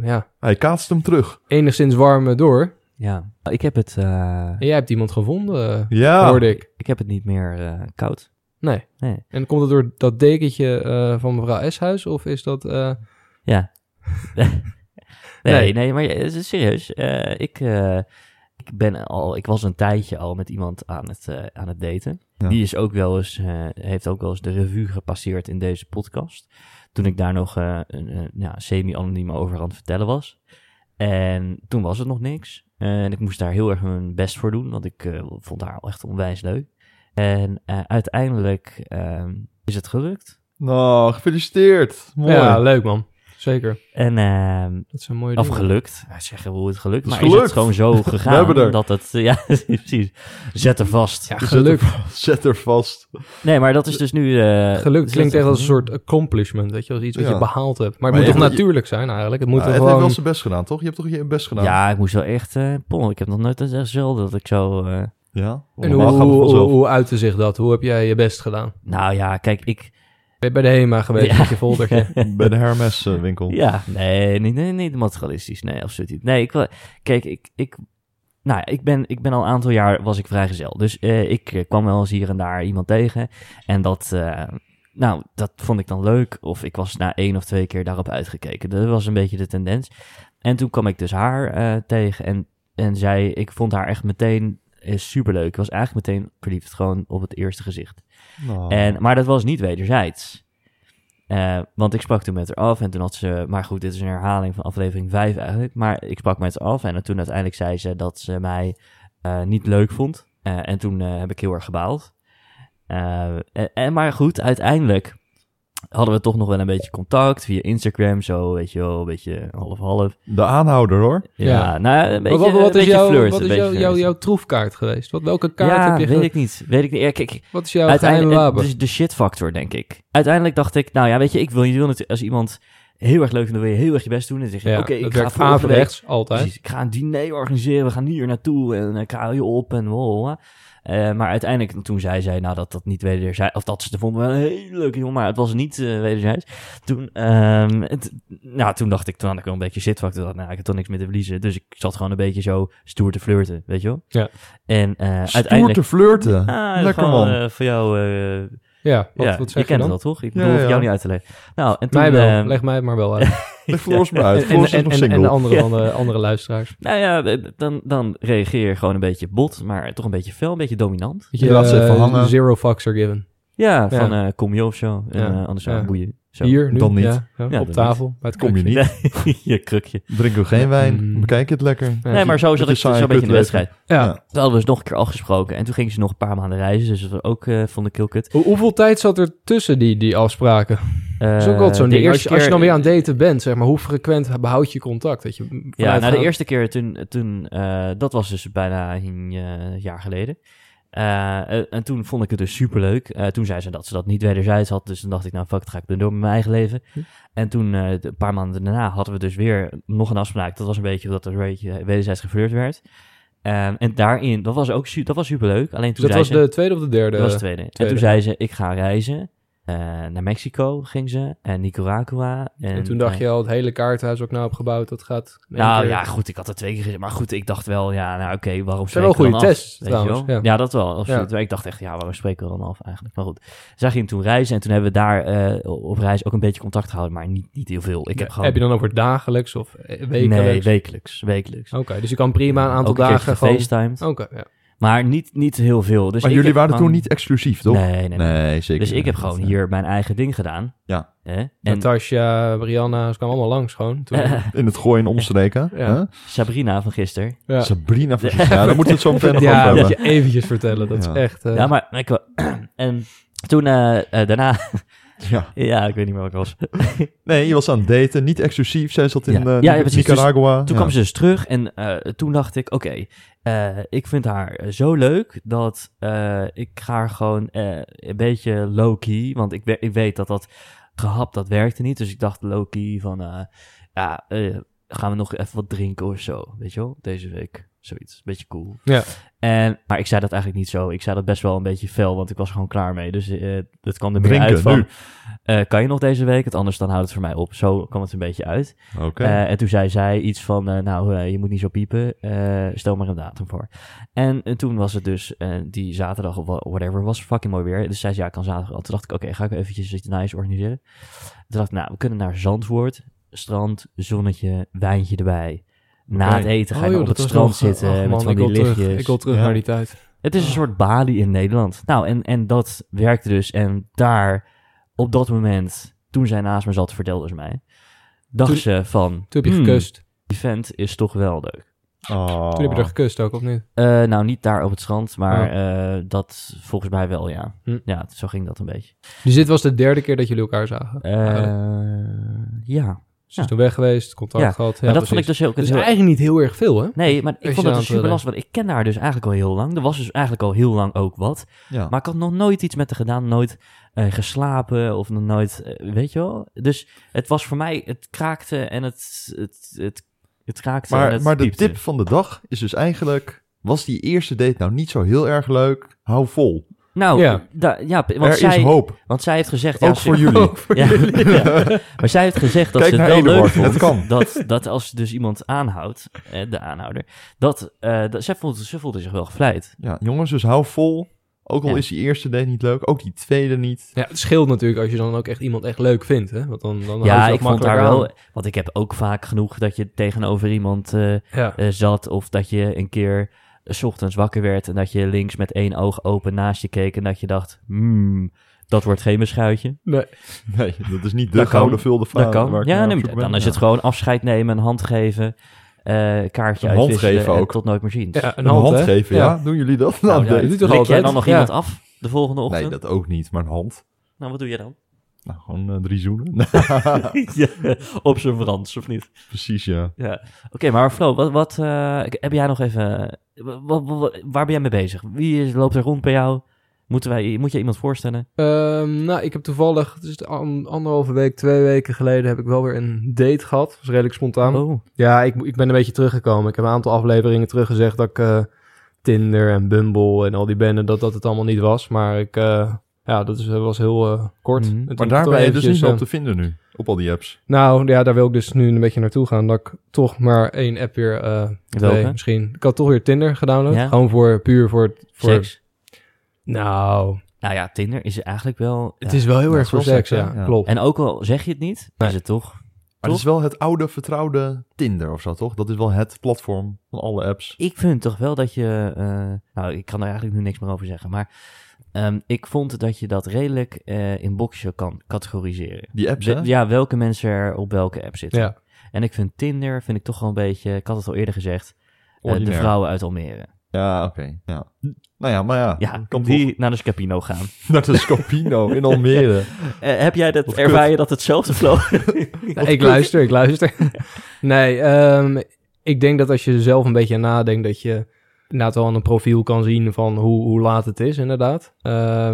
Speaker 4: eh, ja,
Speaker 3: Hij kaatst hem terug.
Speaker 4: enigszins warm eh, door.
Speaker 2: Ja, ik heb het, eh,
Speaker 4: En jij hebt iemand gevonden, eh,
Speaker 3: Ja,
Speaker 4: hoorde ik.
Speaker 2: ik heb het niet meer eh, koud.
Speaker 4: Nee.
Speaker 2: Nee.
Speaker 4: En komt dat door dat dekentje eh, van mevrouw Eshuis? Of is dat... eh,
Speaker 2: Ja. nee, nee,
Speaker 4: Nee.
Speaker 2: maar het is serieus. Eh, ik, eh, ik, ben al, ik was een tijdje al met iemand aan het, eh, aan het daten.
Speaker 3: Ja.
Speaker 2: Die is ook wel eens, eh, heeft ook wel eens de revue gepasseerd in deze podcast. Toen ik daar nog eh, een, eh, ja, semi-anoniem over aan het vertellen was. En toen was het nog niks. Eh, en ik moest daar heel erg mijn best voor doen, want ik eh, vond haar al echt onwijs leuk. En eh, uiteindelijk ehm, is het gelukt.
Speaker 3: nou, gefeliciteerd. Mooi.
Speaker 4: Ja, leuk man. Zeker.
Speaker 2: En ehm,
Speaker 4: Dat is een mooie
Speaker 2: Of
Speaker 4: ding.
Speaker 2: gelukt. Ja, zeggen hoe het gelukt.
Speaker 3: Het
Speaker 2: Maar
Speaker 3: is
Speaker 2: is het
Speaker 3: gelukt.
Speaker 2: gewoon zo gegaan
Speaker 3: hebben er.
Speaker 2: dat het... Ja, precies. Zet er vast.
Speaker 4: Ja,
Speaker 3: Dus zet
Speaker 4: geluk.
Speaker 3: er- Zet er vast.
Speaker 2: Nee, maar dat is dus nu... eh,
Speaker 4: Geluk
Speaker 2: zet
Speaker 4: klinkt
Speaker 2: er-
Speaker 4: echt als een soort accomplishment, weet je, als iets wat
Speaker 3: Ja.
Speaker 4: je behaald hebt. Maar het
Speaker 3: Maar
Speaker 4: moet
Speaker 3: je-
Speaker 4: toch natuurlijk zijn eigenlijk? Het moet
Speaker 3: Ja,
Speaker 4: toch
Speaker 3: Ah, het heeft wel
Speaker 4: gewoon...
Speaker 3: zijn best gedaan, toch? Je hebt toch je best gedaan?
Speaker 2: Ja, ik moest wel echt... eh pom, ik heb nog nooit dat is echt zelden dat ik zo... eh,
Speaker 3: ja?
Speaker 4: En hoe,
Speaker 3: Normaal gaat het
Speaker 4: hoe, hoe,
Speaker 3: vanzelf.
Speaker 4: uitte zich dat? Hoe heb jij je best gedaan?
Speaker 2: nou ja, kijk, ik...
Speaker 4: Ben je bij de HEMA geweest
Speaker 2: Ja.
Speaker 4: met je foldertje?
Speaker 3: Bij de Hermes eh, winkel.
Speaker 2: Ja, nee, niet, nee, niet materialistisch. Nee, absoluut niet. Nee, ik, wil- kijk, ik, ik, nou ja, ik, ben, ik ben al een aantal jaar was ik vrijgezel. Dus eh, ik eh, kwam wel eens hier en daar iemand tegen. En dat, eh, nou, dat vond ik dan leuk. Of ik was na één of twee keer daarop uitgekeken. Dat was een beetje de tendens. En toen kwam ik dus haar eh, tegen. En, en zij, ik vond haar echt meteen eh, superleuk. Ik was eigenlijk meteen verliefd, gewoon op het eerste gezicht.
Speaker 3: Nou,
Speaker 2: En, maar dat was niet wederzijds. Eh, want ik sprak toen met haar af en toen had ze... Maar goed, dit is een herhaling van aflevering 5 eigenlijk. Maar ik sprak met haar af en toen uiteindelijk zei ze dat ze mij eh, niet leuk vond. Eh, en toen eh, heb ik heel erg gebaald. Eh, en, en maar goed, uiteindelijk hadden we toch nog wel een beetje contact via Instagram. Zo, weet je wel, een beetje half-half.
Speaker 3: De aanhouder, hoor.
Speaker 2: Ja,
Speaker 4: Ja.
Speaker 2: nou, een beetje,
Speaker 4: wat, wat, wat
Speaker 2: een
Speaker 4: is,
Speaker 2: beetje
Speaker 4: jouw,
Speaker 2: flirten.
Speaker 4: wat
Speaker 2: een
Speaker 4: is
Speaker 2: beetje
Speaker 4: jouw, jouw,
Speaker 2: flirten.
Speaker 4: jouw troefkaart geweest? Wat, welke kaart
Speaker 2: ja,
Speaker 4: heb je
Speaker 2: weet
Speaker 4: ge-
Speaker 2: ik niet. Weet ik niet. Ja, kijk,
Speaker 4: Wat is jouw geheime
Speaker 2: Uiteindelijk,
Speaker 4: wapen?
Speaker 2: Dus de shit factor, denk ik. Uiteindelijk dacht ik, nou ja, weet je, ik wil, je wil natuurlijk als iemand heel erg leuk vindt, dan wil je heel erg je best doen. En dan zeg je,
Speaker 4: ja,
Speaker 2: oké,
Speaker 4: dat
Speaker 2: ik ga
Speaker 4: werkt
Speaker 2: volgende week,
Speaker 4: averechts altijd.
Speaker 2: precies, ik ga een diner organiseren, we gaan hier naartoe en eh, ik haal je op en wow. Eh, maar uiteindelijk, toen zij zei, nou dat dat niet wederzijds, of dat ze het vonden wel een hele leuke jongen, maar het was niet eh, wederzijds. Toen, ehm, het- nou, toen dacht ik, toen had ik wel een beetje zitfactor, dacht, nou, ik had toch niks meer te verliezen. Dus ik zat gewoon een beetje zo stoer te flirten, weet je wel.
Speaker 4: Ja.
Speaker 2: En eh,
Speaker 3: Stoer
Speaker 2: uiteindelijk...
Speaker 3: te flirten.
Speaker 2: Ah,
Speaker 3: Lekker,
Speaker 2: gewoon,
Speaker 3: man.
Speaker 2: eh, voor jou eh,
Speaker 4: Ja, wat,
Speaker 2: ja, je
Speaker 4: wat zeg je,
Speaker 2: kent het
Speaker 4: dan?
Speaker 2: al, toch? Ik
Speaker 3: Ja,
Speaker 2: bedoel, hoef ik
Speaker 3: ja.
Speaker 2: jou niet uit te leggen. Nou, en toen...
Speaker 4: Mij wel,
Speaker 2: ehm,
Speaker 4: leg mij het maar wel uit.
Speaker 2: eh,
Speaker 3: Leg Floris maar uit.
Speaker 4: en, en,
Speaker 3: Floris is
Speaker 4: en,
Speaker 3: nog
Speaker 4: en- en
Speaker 3: single.
Speaker 4: de andere, andere, andere luisteraars.
Speaker 2: nou ja, eh, dan, dan reageer je gewoon een beetje bot, maar toch een beetje fel, een beetje dominant.
Speaker 4: Weet
Speaker 3: Je laat ze even
Speaker 4: eh,
Speaker 3: hangen.
Speaker 4: zero fucks are given.
Speaker 2: Ja,
Speaker 4: Ja.
Speaker 2: van eh, kom je of zo. En,
Speaker 4: Ja,
Speaker 2: eh, anders zou
Speaker 4: ja.
Speaker 2: boeien. Zo.
Speaker 4: Hier, nu,
Speaker 3: Dan niet.
Speaker 4: ja, ja,
Speaker 2: dan
Speaker 4: op
Speaker 2: niet.
Speaker 4: tafel. Bij het
Speaker 3: Kom je
Speaker 4: kruisje.
Speaker 3: niet.
Speaker 2: je krukje.
Speaker 3: Drink ook geen wijn.
Speaker 4: Mm.
Speaker 3: Bekijk het lekker.
Speaker 4: Ja.
Speaker 2: nee, maar zo zat
Speaker 3: beetje
Speaker 2: ik zo'n
Speaker 3: saaie
Speaker 2: beetje in de
Speaker 3: kutleven.
Speaker 2: wedstrijd.
Speaker 4: Ja.
Speaker 3: Ja.
Speaker 2: Toen hadden we dus nog een keer afgesproken. En toen gingen ze nog een paar maanden reizen. Dus dat was ook, eh vond ik heel kut.
Speaker 4: Hoe- hoeveel tijd zat er tussen die, die afspraken?
Speaker 2: Eh,
Speaker 4: dat is ook altijd zo'n
Speaker 2: de
Speaker 4: ding. Als
Speaker 2: eerste
Speaker 4: je, als je
Speaker 2: keer-
Speaker 4: dan weer aan het daten bent, zeg maar, hoe frequent behoud je contact? Dat je vanuit
Speaker 2: Ja, nou, de
Speaker 4: gaat-
Speaker 2: eerste keer toen, toen eh, dat was dus bijna een eh, jaar geleden. Eh, eh, en toen vond ik het dus superleuk. Eh toen zei ze dat ze dat niet wederzijds had. Dus toen dacht ik, nou fuck, het ga ik dan door met mijn eigen leven.
Speaker 4: Hm.
Speaker 2: En toen, eh, de- een paar maanden daarna, hadden we dus weer nog een afspraak. Dat was een beetje dat er een beetje wederzijds geflirt werd. Ehm, en daarin, dat was ook su- dat was superleuk. Alleen
Speaker 4: Dus
Speaker 2: toen
Speaker 4: dat
Speaker 2: zei
Speaker 4: was
Speaker 2: ze,
Speaker 4: de tweede of de derde?
Speaker 2: dat was de tweede. En
Speaker 4: tweede.
Speaker 2: toen zei ze, ik ga reizen. Eh, naar Mexico ging ze. En Nicaragua. En,
Speaker 4: en, toen dacht
Speaker 2: eh,
Speaker 4: je al, het hele kaartenhuis ook nou opgebouwd, dat gaat... in één
Speaker 2: nou
Speaker 4: keer-
Speaker 2: ja, goed, ik had er twee keer gezien. Maar goed, ik dacht wel, ja, nou oké, waarom spreken
Speaker 4: zijn wel
Speaker 2: we dan
Speaker 4: goede
Speaker 2: af?
Speaker 4: tests,
Speaker 2: Weet je wel?
Speaker 4: trouwens, ja.
Speaker 2: Ja. dat wel. Absoluut. Maar Ik dacht echt, ja, waarom spreken we dan af eigenlijk? Maar goed, zij ging toen reizen en toen hebben we daar eh, op reis ook een beetje contact gehouden, maar niet, niet heel veel. Ik heb gewoon...
Speaker 4: Heb je dan over dagelijks of eh, wekelijks?
Speaker 2: Nee, wekelijks. Wekelijks.
Speaker 4: Oké, dus je kan prima een aantal
Speaker 2: ook een
Speaker 4: dagen
Speaker 2: keertje
Speaker 4: gewoon... Oh.
Speaker 2: gefacetimed,
Speaker 4: Oké, ja.
Speaker 2: maar niet, niet heel veel. Dus
Speaker 3: Maar
Speaker 2: ik
Speaker 3: jullie
Speaker 2: heb
Speaker 3: waren
Speaker 2: gewoon-
Speaker 3: toen niet exclusief, toch?
Speaker 2: Nee, nee, nee.
Speaker 3: zeker
Speaker 2: Dus ik heb
Speaker 3: niet.
Speaker 2: gewoon hier mijn eigen ding gedaan.
Speaker 3: Ja.
Speaker 2: Hè? En
Speaker 4: Natasja, Brianna, ze kwamen allemaal langs gewoon. Toen,
Speaker 3: In het gooien en omstreken.
Speaker 4: Ja.
Speaker 3: hè?
Speaker 2: Sabrina van gisteren.
Speaker 4: Ja.
Speaker 3: Sabrina van Ja, daar moeten we het zo meteen nog
Speaker 4: ja,
Speaker 3: over
Speaker 4: dat
Speaker 3: hebben.
Speaker 4: je eventjes vertellen, dat
Speaker 3: Ja.
Speaker 4: is echt... eh,
Speaker 2: Ja, maar ik, wa- en toen eh, eh, daarna,
Speaker 3: Ja.
Speaker 2: ja, ik weet niet meer wat ik was.
Speaker 3: Nee, je was aan het daten. Niet exclusief. Zij zat in
Speaker 2: Ja.
Speaker 3: eh,
Speaker 2: Ja, ja, precies.
Speaker 3: Nicaragua.
Speaker 2: Toen
Speaker 3: Ja.
Speaker 2: kwam ze dus terug en eh, toen dacht ik, oké, eh, ik vind haar eh, zo leuk dat eh, ik ga haar gewoon eh, een beetje low-key, want ik, we- ik weet dat dat gehap, dat werkte niet. Dus ik dacht low-key van, eh, ja, eh, gaan we nog even wat drinken of zo, weet je wel, deze week. Zoiets, beetje cool.
Speaker 4: Ja.
Speaker 2: En, maar ik zei dat eigenlijk niet zo. Ik zei dat best wel een beetje fel, want ik was er gewoon klaar mee. Dus eh dat kwam er meer
Speaker 3: Drinken,
Speaker 2: uit van...
Speaker 3: nu.
Speaker 2: eh, kan je nog deze week? Het anders dan houdt het voor mij op. Zo kwam het een beetje uit.
Speaker 3: Oké.
Speaker 2: Eh, en toen zei zij iets van, eh, nou, eh, je moet niet zo piepen, eh, stel maar een datum voor. En eh, toen was het dus eh, die zaterdag of wa- whatever, was fucking mooi weer. Dus zei ze, ja, ik kan zaterdag al. Toen dacht ik, oké, ga ik eventjes iets nice organiseren. Toen dacht ik, nou, we kunnen naar Zandvoort, strand, zonnetje, wijntje erbij. Na
Speaker 4: Oké.
Speaker 2: het eten ga je
Speaker 4: oh,
Speaker 2: dan
Speaker 4: joh,
Speaker 2: op
Speaker 4: dat
Speaker 2: het
Speaker 4: was
Speaker 2: strand
Speaker 4: nog-
Speaker 2: zitten eh,
Speaker 4: ach,
Speaker 2: met
Speaker 4: man,
Speaker 2: van
Speaker 4: ik
Speaker 2: die
Speaker 4: wil terug-
Speaker 2: lichtjes.
Speaker 4: Ik wil terug
Speaker 3: Ja.
Speaker 4: naar die tijd.
Speaker 2: Het is een soort Bali in Nederland. Nou, en, en dat werkte dus. En daar, op dat moment, toen zij naast me zat, vertelde ze mij... Dacht
Speaker 4: Toen-
Speaker 2: ze van...
Speaker 4: Toen heb je
Speaker 2: "Hmm,
Speaker 4: gekust.
Speaker 2: die vent is toch wel leuk.
Speaker 3: Oh.
Speaker 4: Toen heb je er gekust ook, of niet?
Speaker 2: Eh, nou, niet daar op het strand, maar
Speaker 3: Oh.
Speaker 2: eh, dat volgens mij wel, ja.
Speaker 4: Hm.
Speaker 2: Ja, zo ging dat een beetje.
Speaker 4: Dus dit was de derde keer dat jullie elkaar zagen?
Speaker 2: Eh,
Speaker 3: Oh.
Speaker 4: Eigenlijk.
Speaker 2: ja.
Speaker 4: dus toen weg geweest, contact
Speaker 2: ja,
Speaker 4: gehad.
Speaker 2: maar dat vond ik dus heel...
Speaker 4: Dus
Speaker 2: heel-
Speaker 4: eigenlijk niet heel erg veel, hè?
Speaker 2: Nee, maar ik
Speaker 4: je
Speaker 2: vond
Speaker 4: aan
Speaker 2: dat dus
Speaker 4: het
Speaker 2: super
Speaker 4: willen.
Speaker 2: lastig, want ik ken haar dus eigenlijk al heel lang. Er was dus eigenlijk al heel lang ook wat.
Speaker 3: Ja.
Speaker 2: Maar ik had nog nooit iets met haar gedaan, nooit eh, geslapen of nog nooit, eh, weet je wel. Dus het was voor mij, het kraakte en het, het, het, het kraakte en
Speaker 3: Maar,
Speaker 2: het
Speaker 3: maar de
Speaker 2: piepte.
Speaker 3: tip van de dag is dus eigenlijk... Was die eerste date nou niet zo heel erg leuk? Hou vol.
Speaker 2: Nou,
Speaker 4: Ja.
Speaker 2: ja, ja want,
Speaker 3: er
Speaker 2: zij,
Speaker 3: is hoop.
Speaker 2: want zij heeft gezegd... ja,
Speaker 3: Ook
Speaker 2: ze-
Speaker 3: voor jullie.
Speaker 2: Ja, ja. Maar zij heeft gezegd dat
Speaker 3: Kijk
Speaker 2: ze het
Speaker 3: naar
Speaker 2: wel leuk
Speaker 3: Eduard,
Speaker 2: vond.
Speaker 3: het kan.
Speaker 2: Dat, dat als ze dus iemand aanhoudt, eh, de aanhouder, dat, eh, dat zij, voelde, zij voelde zich wel gevleid.
Speaker 3: Ja, jongens, dus hou vol. Ook al
Speaker 2: Ja.
Speaker 3: is die eerste date niet leuk, ook die tweede niet.
Speaker 4: Ja, het scheelt natuurlijk als je dan ook echt iemand echt leuk vindt, hè? Want dan, dan
Speaker 2: ja,
Speaker 4: houd je
Speaker 2: ik
Speaker 4: dat
Speaker 2: vond haar
Speaker 4: makkelijker
Speaker 2: wel...
Speaker 4: aan.
Speaker 2: Want ik heb ook vaak genoeg dat je tegenover iemand eh, eh,
Speaker 4: Ja.
Speaker 2: zat of dat je een keer eh, s ochtends wakker werd en dat je links met één oog open naast je keek en dat je dacht, hmm, dat wordt geen beschuitje.
Speaker 4: Nee.
Speaker 3: Nee, dat is niet de
Speaker 2: Dat kan.
Speaker 3: gouden vulde
Speaker 2: Dat
Speaker 3: fase. waar
Speaker 2: kan.
Speaker 3: ik
Speaker 2: Ja,
Speaker 3: naar
Speaker 2: nee,
Speaker 3: op
Speaker 2: maar
Speaker 3: zoek
Speaker 2: dan
Speaker 3: ben.
Speaker 2: is het
Speaker 3: Ja.
Speaker 2: gewoon afscheid nemen, een hand geven, eh, kaartje
Speaker 3: Een hand
Speaker 2: uitwisselen
Speaker 3: geven
Speaker 2: en
Speaker 3: ook.
Speaker 2: tot nooit meer zien.
Speaker 4: Ja, een
Speaker 3: een
Speaker 4: hand,
Speaker 3: hand,
Speaker 4: hè?
Speaker 3: geven, ja. Doen jullie dat? Nou,
Speaker 2: Nou,
Speaker 3: nee.
Speaker 4: dat doet toch
Speaker 2: Lik jij
Speaker 4: altijd?
Speaker 2: dan nog
Speaker 4: Ja.
Speaker 2: iemand af de volgende ochtend?
Speaker 3: nee, dat ook niet, maar een hand.
Speaker 2: Nou, wat doe je dan?
Speaker 3: Nou, gewoon eh, drie zoenen.
Speaker 2: Ja, op zijn Frans, of niet?
Speaker 3: Precies, ja.
Speaker 2: Ja. Oké, maar Flo, wat, wat eh, heb jij nog even... eh, wa- wa- wa- waar ben jij mee bezig? Wie is- loopt er rond bij jou? Moeten wij, moet je iemand voorstellen?
Speaker 4: Ehm, nou, ik heb toevallig, dus anderhalve week, twee weken geleden, heb ik wel weer een date gehad. Dat was redelijk spontaan.
Speaker 2: Oh,
Speaker 4: Ja, ik, ik ben een beetje teruggekomen. Ik heb een aantal afleveringen teruggezegd dat ik eh, Tinder en Bumble en al die benden, dat dat het allemaal niet was. Maar ik, eh, ja, dat is, was heel eh, kort.
Speaker 2: Mhm.
Speaker 4: En
Speaker 3: Maar
Speaker 4: toen-
Speaker 3: daar
Speaker 4: toen
Speaker 3: ben je dus niet
Speaker 4: eventjes,
Speaker 3: meer
Speaker 4: eh,
Speaker 3: op te vinden nu, op al die apps.
Speaker 4: Nou ja, daar wil ik dus nu een beetje naartoe gaan. Dat ik toch maar één app weer. eh twee
Speaker 2: Welke?
Speaker 4: misschien. Ik had toch weer Tinder gedownload.
Speaker 2: Ja.
Speaker 4: Gewoon voor puur voor. het- voor
Speaker 2: seks.
Speaker 4: Nou,
Speaker 2: Nou ja, Tinder is eigenlijk wel...
Speaker 4: het
Speaker 2: ja.
Speaker 4: is wel heel
Speaker 3: dat
Speaker 4: erg
Speaker 3: is
Speaker 4: voor
Speaker 3: wel
Speaker 4: seks,
Speaker 3: seks,
Speaker 4: ja.
Speaker 3: hè? Ja.
Speaker 4: Klopt.
Speaker 2: En ook al zeg je het niet, is het toch...
Speaker 3: Maar het is wel het oude vertrouwde Tinder of zo, toch? Dat is wel het platform van alle apps.
Speaker 2: Ik vind toch wel dat je. eh, nou, ik kan er eigenlijk nu niks meer over zeggen. Maar ehm, ik vond dat je dat redelijk eh, in boxen kan categoriseren.
Speaker 3: Die apps,
Speaker 2: De-
Speaker 3: hè?
Speaker 2: ja, welke mensen er op welke app zitten.
Speaker 4: Ja.
Speaker 2: En ik vind Tinder, vind ik toch wel een beetje. Ik had het al eerder gezegd. eh, de
Speaker 3: Ordinair.
Speaker 2: vrouwen uit Almere.
Speaker 3: Ja, oké. Ja. Nou ja, maar ja.
Speaker 2: Ja,
Speaker 3: kan
Speaker 2: Ah, die naar de Scapino gaan.
Speaker 3: toch naar de Scapino in Almere.
Speaker 2: Eh, heb jij dat,
Speaker 3: Wat
Speaker 2: ervaar je dat hetzelfde vloog?
Speaker 4: Nou, ik luister, ik luister. nee, ehm, ik denk dat als je er zelf een beetje aan nadenkt, dat je inderdaad wel aan een profiel kan zien van hoe, hoe laat het is, inderdaad. Ehm,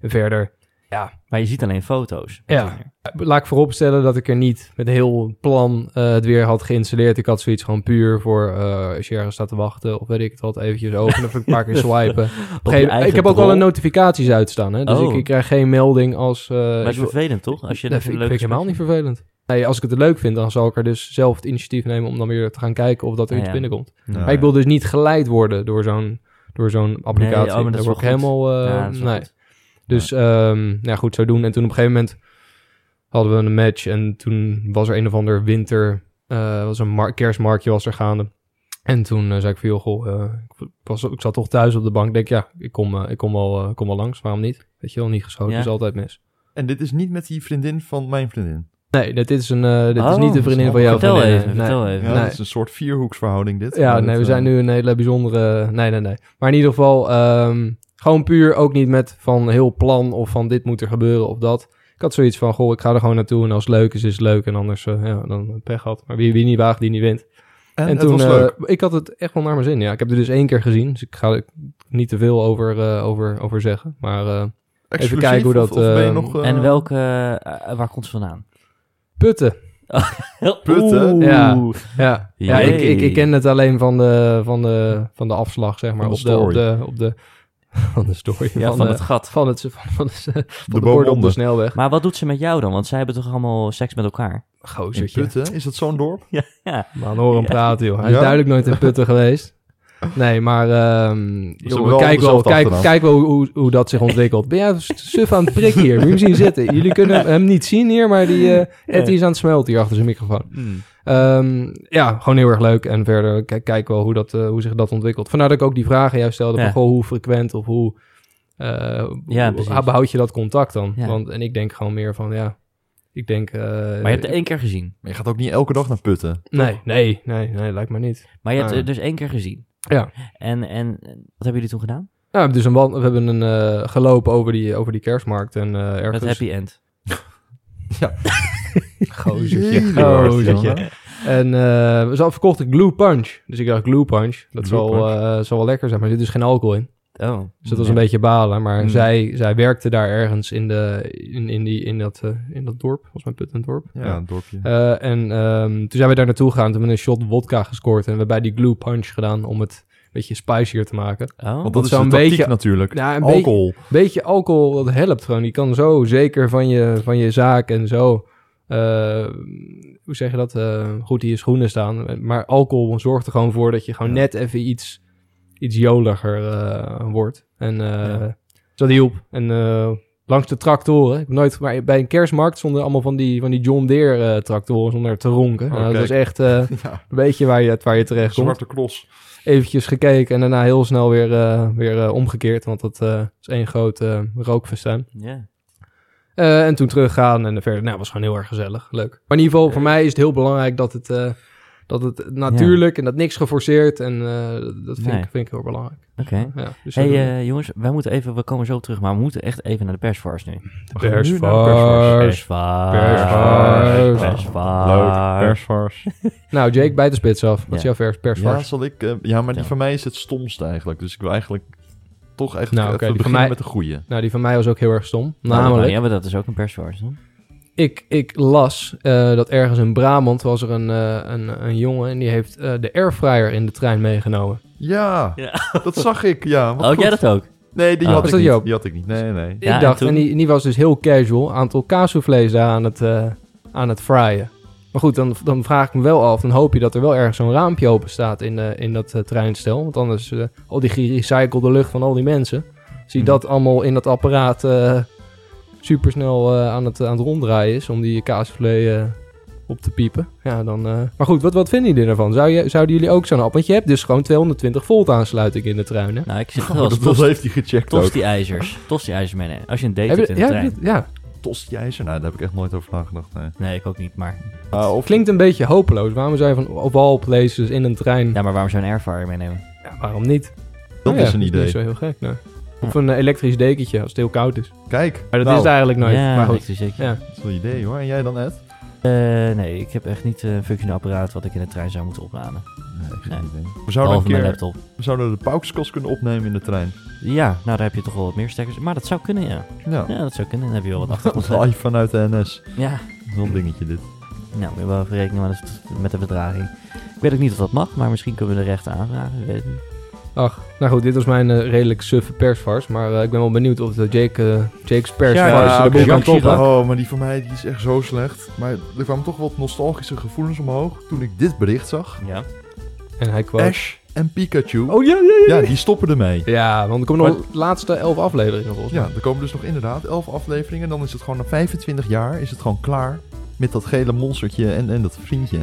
Speaker 4: en verder,
Speaker 2: maar je ziet alleen foto's. op
Speaker 4: Ja.
Speaker 2: Tinder.
Speaker 4: Eh, laat ik vooropstellen dat ik er niet met heel plan eh, het weer had geïnstalleerd. Ik had zoiets gewoon puur voor eh, als je ergens staat te wachten of weet ik het wat, eventjes openen of een paar keer swipen.
Speaker 2: Op je
Speaker 4: Geen-
Speaker 2: eigen
Speaker 4: ik heb ook
Speaker 2: drol.
Speaker 4: wel een notificaties uitstaan, hè? dus
Speaker 2: Oh.
Speaker 4: ik, ik krijg geen melding als... eh,
Speaker 2: Maar het
Speaker 4: ik-
Speaker 2: is vervelend, toch? Als je
Speaker 4: dat
Speaker 2: even
Speaker 4: vind,
Speaker 2: een
Speaker 4: ik-
Speaker 2: leuke
Speaker 4: vind ik helemaal niet
Speaker 2: gesprek-
Speaker 4: vervelend. Nee, als ik het leuk vind, dan zal ik er dus zelf het initiatief nemen om dan weer te gaan kijken of dat er
Speaker 2: Ah,
Speaker 4: iets
Speaker 2: ja.
Speaker 4: binnenkomt.
Speaker 3: Ja.
Speaker 4: Maar ik wil dus niet geleid worden door zo'n door zo'n applicatie.
Speaker 2: oh, maar dat
Speaker 4: Daar
Speaker 2: is
Speaker 4: word ik
Speaker 2: wel goed.
Speaker 4: helemaal... eh,
Speaker 2: Ja, dat is wel
Speaker 4: nee.
Speaker 2: goed.
Speaker 4: Dus ehm, nou ja, goed, zo doen. En toen op een gegeven moment hadden we een match. En toen was er een of ander winter... eh, was een mar- kerstmarktje was er gaande. En toen eh, zei ik van, joh, goh, eh, ik, was, ik zat toch thuis op de bank. Ik denk, ja, ik kom, eh, ik kom, al, eh, kom al langs. Waarom niet? Weet je wel, niet geschoten
Speaker 2: Ja.
Speaker 4: is altijd mis.
Speaker 3: En dit is niet met die vriendin van mijn vriendin.
Speaker 4: Nee, dit is, een, eh, dit is
Speaker 2: Oh,
Speaker 4: niet de vriendin van jou.
Speaker 2: Vertel
Speaker 4: vriendin,
Speaker 2: even,
Speaker 4: nee.
Speaker 2: vertel even.
Speaker 3: Ja,
Speaker 4: Eh, Nee.
Speaker 3: dat is een soort vierhoeksverhouding dit.
Speaker 4: Ja,
Speaker 3: Maar
Speaker 4: nee,
Speaker 3: dat,
Speaker 4: we zijn
Speaker 3: eh,
Speaker 4: nu een hele bijzondere... Nee, nee, nee. Maar in ieder geval, ehm, gewoon puur ook niet met van heel plan of van dit moet er gebeuren of dat. Ik had zoiets van, goh, ik ga er gewoon naartoe en als het leuk is, is het leuk. En anders, eh, ja, dan pech gehad. Maar wie, wie niet waagt, die niet wint.
Speaker 3: En,
Speaker 4: en
Speaker 3: het was
Speaker 4: eh,
Speaker 3: leuk.
Speaker 4: ik had het echt wel naar mijn zin, ja. Ik heb er dus één keer gezien, dus ik ga er niet te veel over, eh, over, over zeggen. Maar eh,
Speaker 3: Exclusief,
Speaker 4: kijken hoe
Speaker 3: of-
Speaker 4: dat,
Speaker 3: Of, ben je
Speaker 4: eh,
Speaker 3: nog, eh,
Speaker 2: En welke, eh, waar komt ze vandaan?
Speaker 4: putten,
Speaker 3: Putten?
Speaker 2: Oeh.
Speaker 4: Ja. ja. ja ik,
Speaker 2: Jee.
Speaker 4: ik, ik ken het alleen van de, van de, van de afslag, zeg maar.
Speaker 3: Van
Speaker 4: Op
Speaker 3: de
Speaker 4: de, op
Speaker 3: story.
Speaker 4: de, op de, van de story.
Speaker 2: Ja, van,
Speaker 4: de-
Speaker 2: het gat.
Speaker 4: van het van, van, de- van
Speaker 3: boom
Speaker 4: de, borden op de
Speaker 3: onder.
Speaker 4: snelweg.
Speaker 2: Maar wat doet ze met jou dan? Want zij hebben toch allemaal seks met elkaar?
Speaker 3: in
Speaker 4: Gozertje.
Speaker 3: Putten? Is dat zo'n dorp?
Speaker 4: Man, hoor hem praten, joh. Hij
Speaker 3: Ja?
Speaker 4: is duidelijk nooit in putten geweest. Nee, maar ehm
Speaker 3: hebben
Speaker 4: jongen,
Speaker 3: wel
Speaker 4: kijk, wel,
Speaker 3: dezelfde
Speaker 4: kijk,
Speaker 3: achternaam.
Speaker 4: kijk wel hoe, hoe, hoe dat zich ontwikkelt. Ben jij suf aan het prikken hier? Moet je hem zien zitten. Jullie kunnen hem- hem niet zien hier, maar die eh Ed is aan het smelten hier achter zijn microfoon.
Speaker 2: Hmm.
Speaker 4: Ehm, ja, gewoon heel erg leuk. En verder kijk, kijk wel hoe, dat, eh, hoe zich dat ontwikkelt. Vandaar dat ik ook die vragen juist stelde.
Speaker 2: Ja.
Speaker 4: Van, goh, hoe frequent of hoe, eh,
Speaker 2: Ja,
Speaker 4: hoe
Speaker 2: precies.
Speaker 4: behoud je dat contact dan?
Speaker 2: Ja.
Speaker 4: Want, en ik denk gewoon meer van, ja, ik denk... eh,
Speaker 2: Maar je hebt het één keer gezien.
Speaker 3: Maar je gaat ook niet elke dag naar Putten.
Speaker 4: nee, nee, nee, nee, lijkt me niet.
Speaker 2: Maar je hebt
Speaker 4: Ah.
Speaker 2: het dus één keer gezien.
Speaker 4: Ja.
Speaker 2: En, en eh, wat hebben jullie toen gedaan?
Speaker 4: Nou, dus een wand, we hebben een eh, gelopen over die, over die kerstmarkt en eh ergens...
Speaker 2: Met happy end.
Speaker 3: Oh,
Speaker 4: Gozertje.
Speaker 3: Jee, Lord,
Speaker 4: Gozertje.
Speaker 3: jongen.
Speaker 4: En eh ze verkochten glue punch. Dus ik dacht, glue punch, dat
Speaker 3: Glue
Speaker 4: zal,
Speaker 3: punch.
Speaker 4: eh, zal wel lekker zijn. Maar er zit dus geen alcohol in.
Speaker 2: Oh.
Speaker 4: Dus dat was een beetje balen. Maar
Speaker 2: Mm.
Speaker 4: zij, zij werkte daar ergens in, de, in, in, die, in, dat, eh, in dat dorp. Volgens mij Puttendorp.
Speaker 3: Ja, een dorpje.
Speaker 4: Eh, en ehm, toen zijn we daar naartoe gegaan. Toen hebben we een shot wodka gescoord. En we hebben bij die glue punch gedaan om het een beetje spicier te maken.
Speaker 2: Oh.
Speaker 3: Want
Speaker 4: dat
Speaker 3: dat is
Speaker 4: zou
Speaker 3: een
Speaker 4: een
Speaker 3: beetje
Speaker 4: beetje-
Speaker 3: natuurlijk.
Speaker 4: Ja, een
Speaker 3: Alcohol.
Speaker 4: Beetje alcohol, dat helpt gewoon. Die kan zo zeker van je, van je zaak en zo... eh, hoe zeg je dat? eh, goed in je schoenen staan. Maar alcohol zorgt er gewoon voor dat je gewoon net even iets, iets joliger eh, wordt. En eh, dus dat hielp. En eh, langs de tractoren. Ik heb nooit, maar bij een kerstmarkt stonden allemaal van die, van die John Deere eh, tractoren zonder te ronken.
Speaker 3: Oh,
Speaker 4: Nou, dat
Speaker 3: kijk.
Speaker 4: was echt eh,
Speaker 3: Ja,
Speaker 4: een beetje waar je, waar je terecht komt.
Speaker 3: zwarte klos.
Speaker 4: Eventjes gekeken en daarna heel snel weer, eh, weer eh, omgekeerd. Want dat eh, is één groot eh rookfestijn.
Speaker 2: Ja.
Speaker 4: Eh, en toen teruggaan en verder. Nou, was gewoon heel erg gezellig. Leuk. Maar in ieder geval, voor
Speaker 2: Eh,
Speaker 4: mij is het heel belangrijk dat het, eh, dat het natuurlijk en dat niks geforceerd. En eh, dat vind,
Speaker 2: Nee.
Speaker 4: ik, vind ik heel belangrijk.
Speaker 2: Oké.
Speaker 4: Ja, dus
Speaker 2: Hey
Speaker 4: zo doen we.
Speaker 2: eh, jongens, wij moeten even, we komen zo terug, maar we moeten echt even naar de persvars nu.
Speaker 3: We gaan nu naar de
Speaker 4: Persvars.
Speaker 2: Persvars.
Speaker 4: Persvars. Ah.
Speaker 2: Persvars.
Speaker 3: Leuk, persvars.
Speaker 4: Nou, Jake, bijt de spits af. Wat
Speaker 2: Ja.
Speaker 4: is jouw vers,
Speaker 3: Ja,
Speaker 4: persvars?
Speaker 3: zal ik, eh, ja, maar die
Speaker 2: Ja.
Speaker 3: van mij is het stomst eigenlijk. Dus ik wil eigenlijk toch echt
Speaker 4: Nou,
Speaker 3: even
Speaker 4: oké, die van
Speaker 3: beginnen
Speaker 4: mij-
Speaker 3: met de goede.
Speaker 4: Nou, die van mij was ook heel erg stom.
Speaker 2: Namelijk.
Speaker 4: Namelijk,
Speaker 2: Ja, maar Nou, dat is ook een persvars. hè?
Speaker 4: ik, ik las eh, dat ergens in Brabant was er een, eh, een, een jongen... en die heeft eh, de airfryer in de trein meegenomen.
Speaker 3: Ja, dat zag ik. Ja, wat
Speaker 2: Oh,
Speaker 3: goed.
Speaker 2: jij dat ook?
Speaker 3: Nee, die
Speaker 2: Oh.
Speaker 3: had
Speaker 4: Was
Speaker 3: ik
Speaker 4: dat
Speaker 3: niet.
Speaker 4: Joop?
Speaker 3: Die had ik niet. Nee, nee.
Speaker 2: Ja, en
Speaker 4: ik dacht, en,
Speaker 2: toen?
Speaker 4: die, en die was dus heel casual, aantal kaassoufflés daar aan het, eh, aan het fryen. Maar goed, dan, dan vraag ik me wel af, dan hoop je dat er wel ergens zo'n raampje open staat in, eh, in dat eh, treinstel. Want anders, eh, al die gerecyclede lucht van al die mensen, zie
Speaker 2: Hmm.
Speaker 4: dat allemaal in dat apparaat eh supersnel eh, aan, het, aan het ronddraaien is om die kaassoufflé eh, op te piepen. Ja, dan, eh, maar goed, wat, wat vinden jullie ervan? Zou je, zouden jullie ook zo'n app? Want je hebt dus gewoon 220 volt aansluiting in de trein, hè?
Speaker 2: Nou, ik zit
Speaker 3: Oh,
Speaker 2: wel
Speaker 3: dat,
Speaker 2: eens
Speaker 3: dat
Speaker 2: tosti-
Speaker 3: heeft hij gecheckt ook.
Speaker 2: tosti-ijzers. Tosti-ijzers meenemen. Als je een date
Speaker 4: Heb
Speaker 2: hebt
Speaker 4: je-
Speaker 2: in de
Speaker 4: ja,
Speaker 2: trein.
Speaker 4: dat- ja,
Speaker 3: Tosti-ijzer? Nou, daar heb ik echt nooit over nagedacht, nee.
Speaker 2: Nee, ik ook niet, maar...
Speaker 3: Ah, of
Speaker 4: klinkt een beetje hopeloos. Waarom zou je van op all places in een trein...
Speaker 2: Ja, maar waarom zou je een airfryer meenemen?
Speaker 4: Ja, waarom niet?
Speaker 3: dat
Speaker 4: Nou ja,
Speaker 3: is een idee.
Speaker 4: Niet zo heel gek, nee. Of een eh, elektrisch dekentje als het heel koud is.
Speaker 3: Kijk,
Speaker 4: Maar dat
Speaker 3: nou,
Speaker 4: is het eigenlijk nooit.
Speaker 2: ja,
Speaker 4: maar goed.
Speaker 2: elektrisch zeker.
Speaker 4: Ja.
Speaker 3: dat is wel een idee hoor. En jij dan, Ed?
Speaker 2: Eh, nee, ik heb echt niet eh, een functioneel apparaat wat ik in de trein zou moeten opladen.
Speaker 3: Nee, geen
Speaker 2: Nee.
Speaker 3: idee. We zouden, een
Speaker 2: Behalve mijn
Speaker 3: keer,
Speaker 2: laptop.
Speaker 3: we zouden de paukskast kunnen opnemen in de trein.
Speaker 2: Ja, nou daar heb je toch wel wat meer stekkers. Maar dat zou kunnen, ja.
Speaker 3: Ja,
Speaker 2: Ja, dat zou kunnen. Dan heb je wel wat achtergrond.
Speaker 3: live vanuit de NS.
Speaker 2: Ja,
Speaker 3: Zo'n dingetje dit.
Speaker 2: nou, moet je wel even rekenen met de- met de verdraging. Ik weet ook niet of dat mag, maar misschien kunnen we de rechten aanvragen. Ik weet het niet.
Speaker 4: Ach, nou goed, dit was mijn eh, redelijk suffe persvars. Maar eh, ik ben wel benieuwd of de Jake, eh, Jake's persvars
Speaker 3: dus
Speaker 2: Ja,
Speaker 4: ja,
Speaker 2: ja,
Speaker 4: de boel
Speaker 2: oké.
Speaker 4: kan toppen.
Speaker 2: Jacques
Speaker 3: Oh, maar die van mij die is echt zo slecht. Maar er kwamen toch wat nostalgische gevoelens omhoog toen ik dit bericht zag.
Speaker 2: Ja.
Speaker 4: En hij kwam...
Speaker 3: Ash en Pikachu.
Speaker 4: Oh ja, ja, ja.
Speaker 3: Ja, die stoppen ermee.
Speaker 4: Ja, want er komen nog
Speaker 3: Maar-
Speaker 4: de laatste elf afleveringen volgens mij.
Speaker 3: Ja, er komen dus nog inderdaad 11 afleveringen. En dan is het gewoon na 25 jaar is het gewoon klaar. Met dat gele monstertje en, en dat vriendje.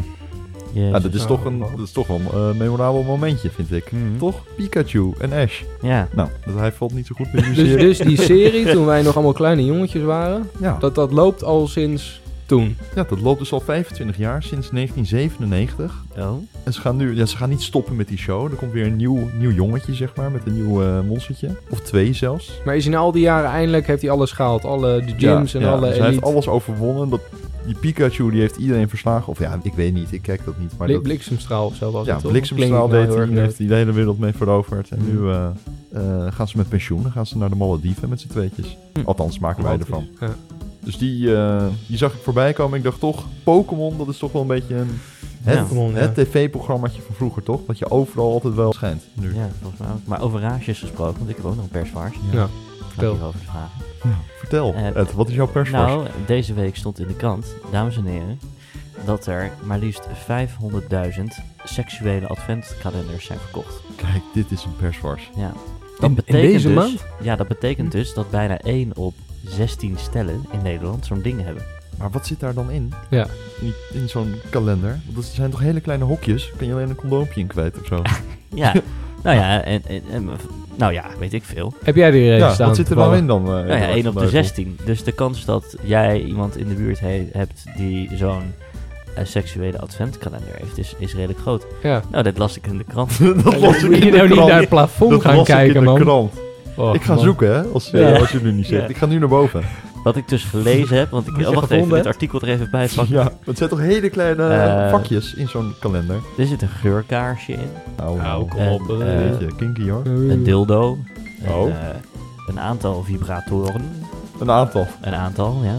Speaker 3: Ja, dat is
Speaker 4: Ja,
Speaker 3: toch een
Speaker 4: wel.
Speaker 3: dat is toch wel een eh, memorabel momentje, vind ik.
Speaker 2: Mhm.
Speaker 3: Toch? Pikachu en Ash.
Speaker 2: Ja.
Speaker 3: Nou, dat, hij valt niet zo goed met die
Speaker 4: Dus,
Speaker 3: serie.
Speaker 4: dus die serie, toen wij nog allemaal kleine jongetjes waren,
Speaker 3: Ja,
Speaker 4: dat, dat loopt al sinds toen.
Speaker 3: ja, dat loopt dus al 25 jaar, sinds 1997.
Speaker 2: Oh.
Speaker 3: En ze gaan nu, ja, ze gaan niet stoppen met die show. Er komt weer een nieuw, nieuw jongetje, zeg maar, met een nieuw eh, monstertje. Of twee zelfs.
Speaker 4: Maar is in al die jaren eindelijk, heeft hij alles gehaald. Alle de gyms
Speaker 3: Ja,
Speaker 4: en
Speaker 3: ja,
Speaker 4: alle
Speaker 3: dus hij heeft
Speaker 4: elite.
Speaker 3: alles overwonnen. Dat, die Pikachu die heeft iedereen verslagen. Of ja, ik weet niet, ik kijk dat niet. Maar
Speaker 4: Blik-
Speaker 3: dat,
Speaker 4: bliksemstraal of zo was
Speaker 3: Ja,
Speaker 4: het toch?
Speaker 3: bliksemstraal
Speaker 4: Klinkt
Speaker 3: deed
Speaker 4: nou
Speaker 3: hij,
Speaker 4: heel
Speaker 3: daar
Speaker 4: erg
Speaker 3: heeft
Speaker 4: Mm.
Speaker 3: hij de hele wereld mee veroverd. En nu eh, eh, gaan ze met pensioen, dan gaan ze naar de Malediven met z'n tweetjes.
Speaker 4: Mm.
Speaker 3: Althans, maken wij ervan.
Speaker 4: Ja.
Speaker 3: Dus die, eh, die zag ik voorbij komen. Ik dacht toch, Pokémon, dat is toch wel een beetje een, het,
Speaker 4: Pokémon, ja.
Speaker 3: het tv-programmaatje van vroeger, toch? Wat je overal altijd wel schijnt nu.
Speaker 2: Ja, volgens mij ook. Maar over raasjes gesproken, want ik heb ook nog een persvaars.
Speaker 4: Ja,
Speaker 2: Dank
Speaker 4: vertel.
Speaker 2: je wel voor de vraag.
Speaker 3: Vertel,
Speaker 2: Eh,
Speaker 3: Oh, Ed, wat is jouw persfors?
Speaker 2: Nou, deze week stond in de krant, dames en heren, dat er maar liefst 500.000 seksuele adventkalenders zijn verkocht.
Speaker 3: Kijk, dit is een persfors.
Speaker 2: Ja.
Speaker 4: In- in deze
Speaker 2: dus,
Speaker 4: maand?
Speaker 2: Ja, dat betekent dus dat bijna 1 op 16 stellen in Nederland zo'n ding hebben.
Speaker 3: Maar wat zit daar dan in?
Speaker 4: Ja.
Speaker 3: In, in zo'n kalender? Want dat zijn toch hele kleine hokjes? Kan je alleen een condoompje in kwijt of zo?
Speaker 2: Ja, nou ja, en, en, en- nou ja, weet ik veel.
Speaker 4: Heb jij die reden
Speaker 3: ja,
Speaker 4: staan?
Speaker 3: wat zit er dan in dan? eh,
Speaker 2: Nou ja,
Speaker 3: Eduard
Speaker 2: 1 op
Speaker 3: van
Speaker 2: de
Speaker 3: Heuvel?
Speaker 2: 16. Dus de kans dat jij iemand in de buurt he- hebt die zo'n eh, seksuele adventkalender heeft, is, is redelijk groot.
Speaker 4: Ja.
Speaker 2: Nou, dat las ik in de krant.
Speaker 3: dat
Speaker 4: Moet
Speaker 3: was ik
Speaker 4: je
Speaker 3: in de
Speaker 4: nou niet
Speaker 3: krant.
Speaker 4: naar het plafond
Speaker 3: Dat
Speaker 4: gaan
Speaker 3: las ik
Speaker 4: kijken,
Speaker 3: in de
Speaker 4: man.
Speaker 3: krant.
Speaker 4: Och,
Speaker 3: ik ga
Speaker 4: man.
Speaker 3: zoeken, hè, als, eh,
Speaker 4: Ja.
Speaker 3: als je het nu niet zegt.
Speaker 2: Ja.
Speaker 3: Ik ga nu naar boven.
Speaker 2: Wat ik dus gelezen heb, want ik...
Speaker 4: Wat je
Speaker 2: Oh, wacht even,
Speaker 4: gevonden
Speaker 2: dit
Speaker 4: hebt?
Speaker 2: artikel er even bij pakken.
Speaker 3: Ja, het zijn toch hele kleine
Speaker 2: Eh.
Speaker 3: vakjes in zo'n kalender.
Speaker 2: Er zit een geurkaarsje in,
Speaker 3: Nou,
Speaker 4: Nou, kom
Speaker 2: En,
Speaker 4: op. eh.
Speaker 2: eh,
Speaker 3: Weet je, kinky hoor.
Speaker 2: een dildo, een,
Speaker 3: Oh.
Speaker 2: eh, een aantal vibratoren,
Speaker 3: Een aantal.
Speaker 2: een aantal, ja.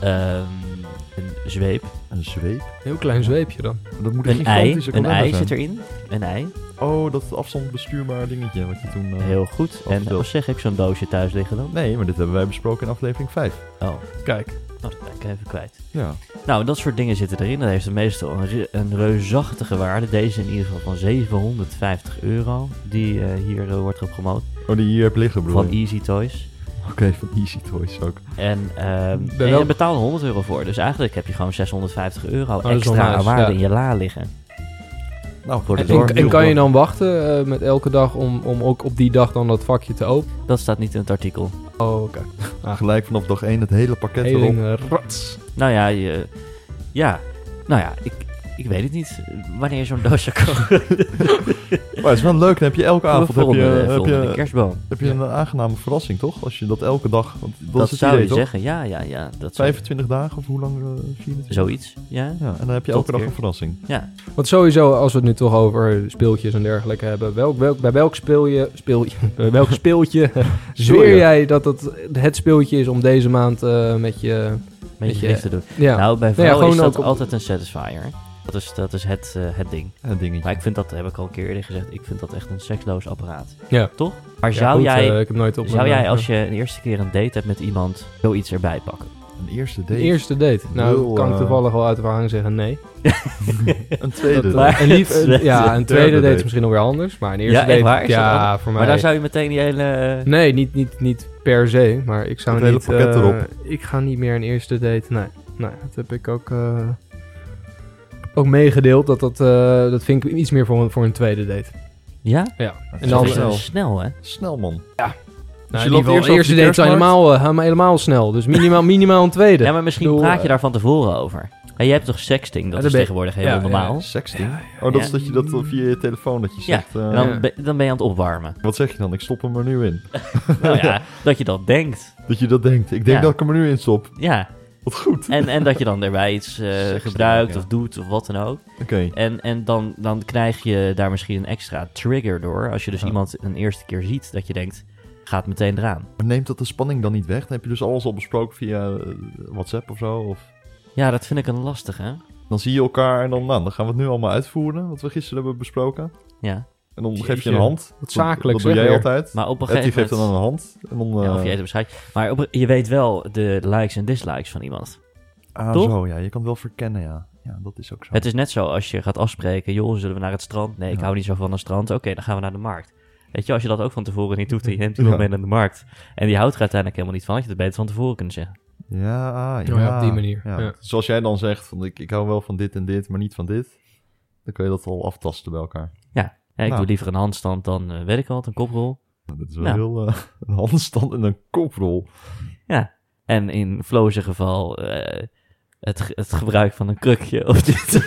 Speaker 2: Ehm, een zweep,
Speaker 3: Een zweep.
Speaker 4: Heel klein zweepje dan.
Speaker 3: Dat moet een
Speaker 2: een ei,
Speaker 3: gigantische
Speaker 2: een
Speaker 3: kalender
Speaker 2: ei
Speaker 3: zijn.
Speaker 2: zit erin, een ei.
Speaker 3: Oh, dat afstandsbestuurbaar dingetje wat je toen... eh,
Speaker 2: Heel goed.
Speaker 3: Wat
Speaker 2: En
Speaker 3: vertel.
Speaker 2: als zeg, heb je zo'n doosje thuis liggen dan?
Speaker 3: Nee, maar dit hebben wij besproken in aflevering 5.
Speaker 2: Oh, oh
Speaker 4: Kijk.
Speaker 2: dat ben ik even kwijt.
Speaker 3: Ja.
Speaker 2: Nou, dat soort dingen zitten erin. Dat heeft de meestal een, re- een reusachtige waarde. Deze in ieder geval van 750 euro, die eh, hier eh, wordt gepromoot.
Speaker 3: Oh, die je hier hebt liggen, bedoel
Speaker 2: Van
Speaker 3: je?
Speaker 2: Easy Toys.
Speaker 3: Oké, van Easy Toys ook.
Speaker 2: En, ehm
Speaker 4: Ben
Speaker 2: en
Speaker 4: wel-
Speaker 2: je betaalt er 100 euro voor. Dus eigenlijk heb je gewoon 650 euro
Speaker 4: dat is wel
Speaker 2: extra aan
Speaker 4: nice,
Speaker 2: waarde
Speaker 4: ja.
Speaker 2: in je la liggen.
Speaker 3: Nou,
Speaker 2: Voor de
Speaker 4: En,
Speaker 2: zorg.
Speaker 4: en, en kan je dan wachten eh, met elke dag om, om ook op die dag dan dat vakje te openen?
Speaker 2: Dat staat niet in het artikel.
Speaker 4: Oh, oké.
Speaker 3: Gelijk vanaf dag 1 het hele pakket erop.
Speaker 4: Heling, eh, rats.
Speaker 2: Nou ja, je, ja. Nou ja, ik, ik weet het niet wanneer zo'n doos zou komen.
Speaker 3: Maar Oh, het is wel leuk, dan heb je elke avond heb
Speaker 2: Volgende-
Speaker 3: je, heb
Speaker 2: eh, volgende
Speaker 3: je,
Speaker 2: kerstboom.
Speaker 3: heb je een aangename verrassing, toch? Als je dat elke dag... Want dat
Speaker 2: Dat,
Speaker 3: is het
Speaker 2: zou
Speaker 3: idee,
Speaker 2: je
Speaker 3: toch?
Speaker 2: zeggen, ja, ja, ja. Dat zou-
Speaker 3: 25 dagen of hoe lang? eh, 24?
Speaker 2: Zoiets, ja.
Speaker 3: Ja, en dan heb je
Speaker 2: Tot
Speaker 3: elke dag
Speaker 2: keer.
Speaker 3: een verrassing.
Speaker 2: Ja,
Speaker 4: Want sowieso, als we het nu toch over speeltjes en dergelijke hebben, welk, welk, bij welk speelje, speelje, bij welk speeltje zweer jij dat het het speeltje is om deze maand eh, met je...
Speaker 2: een beetje
Speaker 4: je-
Speaker 2: gericht te doen.
Speaker 4: Ja,
Speaker 2: Nou, bij
Speaker 4: ja,
Speaker 2: vrouwen
Speaker 4: gewoon
Speaker 2: is dat
Speaker 4: ook op-
Speaker 2: altijd een satisfier. Dat is, dat is het, eh, het ding.
Speaker 3: Een dingetje.
Speaker 2: Maar ik vind dat, heb ik al een keer eerder gezegd, ik vind dat echt een seksloos apparaat.
Speaker 4: Ja.
Speaker 2: Toch? Maar
Speaker 4: Ja,
Speaker 2: zou,
Speaker 4: goed,
Speaker 2: jij,
Speaker 4: eh, ik heb nooit op
Speaker 2: zou
Speaker 4: mijn-
Speaker 2: jij, als
Speaker 4: ja.
Speaker 2: je een eerste keer een date hebt met iemand, zoiets erbij pakken?
Speaker 3: Een eerste
Speaker 4: Een
Speaker 3: date.
Speaker 4: eerste date. Nou,
Speaker 3: Heel,
Speaker 4: kan ik
Speaker 3: eh,
Speaker 4: toevallig wel uit de verhanging zeggen nee.
Speaker 3: Een tweede
Speaker 4: Dat,
Speaker 3: date.
Speaker 4: eh, een lief, een- ja, een
Speaker 3: Derde
Speaker 4: tweede date
Speaker 3: date.
Speaker 4: is misschien nog weer anders, maar een eerste
Speaker 2: Ja, echt
Speaker 4: date...
Speaker 2: waar? Is dat
Speaker 4: ja, voor mij...
Speaker 2: Maar daar zou je meteen die hele...
Speaker 4: Nee, niet, niet, niet per se, maar ik zou
Speaker 3: Het hele
Speaker 4: niet...
Speaker 3: pakket
Speaker 4: eh,
Speaker 3: erop.
Speaker 4: Ik ga niet meer een eerste date, nee. Nee, dat heb ik ook... eh, ook meegedeeld dat dat, eh, dat vind ik iets meer voor een, voor een tweede date. Nou,
Speaker 2: Ja?
Speaker 3: Zo
Speaker 4: En dan- eh,
Speaker 3: snel.
Speaker 2: Snel, hè?
Speaker 3: Snel, man.
Speaker 2: Dus
Speaker 4: Nou,
Speaker 3: je
Speaker 4: in
Speaker 3: loopt eerst
Speaker 4: ieder geval,
Speaker 3: op
Speaker 4: eerste
Speaker 3: de
Speaker 4: dates zijn
Speaker 3: kerstmarkt?
Speaker 4: helemaal, eh, helemaal- helemaal snel. Dus minimaal, minimaal een tweede.
Speaker 2: Ja, maar misschien
Speaker 4: bedoel,
Speaker 2: praat je
Speaker 4: eh,
Speaker 2: daar van tevoren over. En jij hebt toch sexting?
Speaker 4: Ja,
Speaker 2: Dat
Speaker 4: dan
Speaker 2: is
Speaker 4: ben-
Speaker 2: tegenwoordig heel
Speaker 4: ja,
Speaker 2: normaal.
Speaker 4: ja,
Speaker 3: Sexting. Oh, dat is dat je dat via je telefoon dat je
Speaker 2: Ja,
Speaker 3: zegt... eh,
Speaker 2: En dan,
Speaker 4: Ja.
Speaker 2: ben, dan ben je aan het opwarmen.
Speaker 3: Wat zeg je dan? Ik stop hem er nu in.
Speaker 2: Nou ja, dat je dat denkt.
Speaker 3: Dat je dat denkt. Ik denk
Speaker 2: Ja.
Speaker 3: dat ik hem er nu in stop.
Speaker 2: Ja,
Speaker 3: Wat goed.
Speaker 2: en, en dat je dan daarbij iets eh,
Speaker 3: Sexting,
Speaker 2: gebruikt
Speaker 3: ja.
Speaker 2: of doet of wat dan ook.
Speaker 3: Oké.
Speaker 2: En, en dan, dan krijg je daar misschien een extra trigger door. Als je dus
Speaker 3: Ja.
Speaker 2: iemand een eerste keer ziet, dat je denkt, gaat meteen eraan.
Speaker 3: Maar neemt dat de spanning dan niet weg? Dan heb je dus alles al besproken via eh, WhatsApp of zo? Of...
Speaker 2: Ja, dat vind ik een lastige.
Speaker 3: Dan zie je elkaar en dan, nou, dan gaan we het nu allemaal uitvoeren. Wat we gisteren hebben besproken.
Speaker 2: Ja,
Speaker 3: En dan geef je
Speaker 4: Jeetje.
Speaker 3: een hand. Dat-
Speaker 4: Zakelijk,
Speaker 3: Dat doe
Speaker 4: zeg
Speaker 3: jij
Speaker 4: weer.
Speaker 3: altijd.
Speaker 2: maar op een
Speaker 3: Etty
Speaker 2: gegeven
Speaker 3: geeft
Speaker 2: moment...
Speaker 3: dan een hand. En dan,
Speaker 2: ja, of
Speaker 3: eh,
Speaker 2: je eet een bescheid. Maar op, je weet wel de likes en dislikes van iemand.
Speaker 3: ah,
Speaker 2: toch?
Speaker 3: zo, ja. Je kan het wel verkennen, ja. Ja, dat is ook zo.
Speaker 2: Het is net zo als je gaat afspreken, joh, zullen we naar het strand? Nee, ik
Speaker 3: Ja.
Speaker 2: hou niet zo van een strand. Oké, dan gaan we naar de markt. Weet je, als je dat ook van tevoren niet doet en je neemt iemand
Speaker 3: Ja.
Speaker 2: mee naar de markt. En die houdt er uiteindelijk helemaal niet van, had je het beter van tevoren kunnen zeggen.
Speaker 3: Ja, ah, ja.
Speaker 4: Oh ja, op die manier. Ja.
Speaker 3: Zoals jij dan zegt, van, ik, ik hou wel van dit en dit, maar niet van dit. Dan kun je dat al aftasten bij elkaar.
Speaker 2: Ja, ik
Speaker 3: Nou.
Speaker 2: doe liever een handstand dan, eh, weet ik wat, een koprol.
Speaker 3: Nou, dat is wel
Speaker 2: Nou.
Speaker 3: heel eh, een handstand en een koprol.
Speaker 2: En in Flo's geval eh, het, ge- het gebruik van een krukje of dit.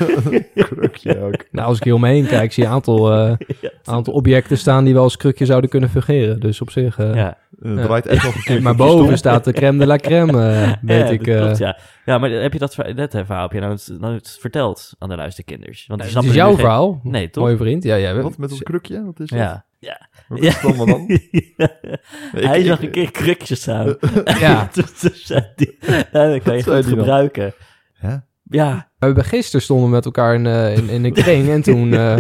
Speaker 3: Krukje ook.
Speaker 4: Nou, als ik hier omheen kijk, zie je een aantal, eh, aantal objecten staan die wel als krukje zouden kunnen fungeren. Dus op zich... eh,
Speaker 2: ja.
Speaker 3: Eh,
Speaker 4: Ja.
Speaker 3: Draait echt nog een keer.
Speaker 4: Maar boven staat de crème de la crème, eh, weet
Speaker 2: Ja,
Speaker 4: ik.
Speaker 2: dat
Speaker 4: eh.
Speaker 2: klopt, ja. ja, maar heb je dat, ver- dat verhaal heb je nou, het- nou het verteld aan de luisterkinders? Want die
Speaker 4: Het
Speaker 2: snappen
Speaker 4: is
Speaker 2: er nu
Speaker 4: jouw
Speaker 2: geen-
Speaker 4: verhaal.
Speaker 2: Nee, toch?
Speaker 4: Mooie vriend. Ja, jij
Speaker 3: Wat met dat krukje? Wat is
Speaker 2: Ja.
Speaker 3: dat? Wat is het allemaal dan? Ik-
Speaker 2: Hij
Speaker 3: ik-
Speaker 2: zag een keer krukjes aan.
Speaker 4: Ja.
Speaker 2: Toen zei die, nou, dat kan je
Speaker 3: zei
Speaker 2: goed
Speaker 3: die dan?
Speaker 2: gebruiken.
Speaker 3: Hè?
Speaker 2: Ja,
Speaker 4: We hebben gisteren stonden we met elkaar in, eh, in, in een kring en toen... eh,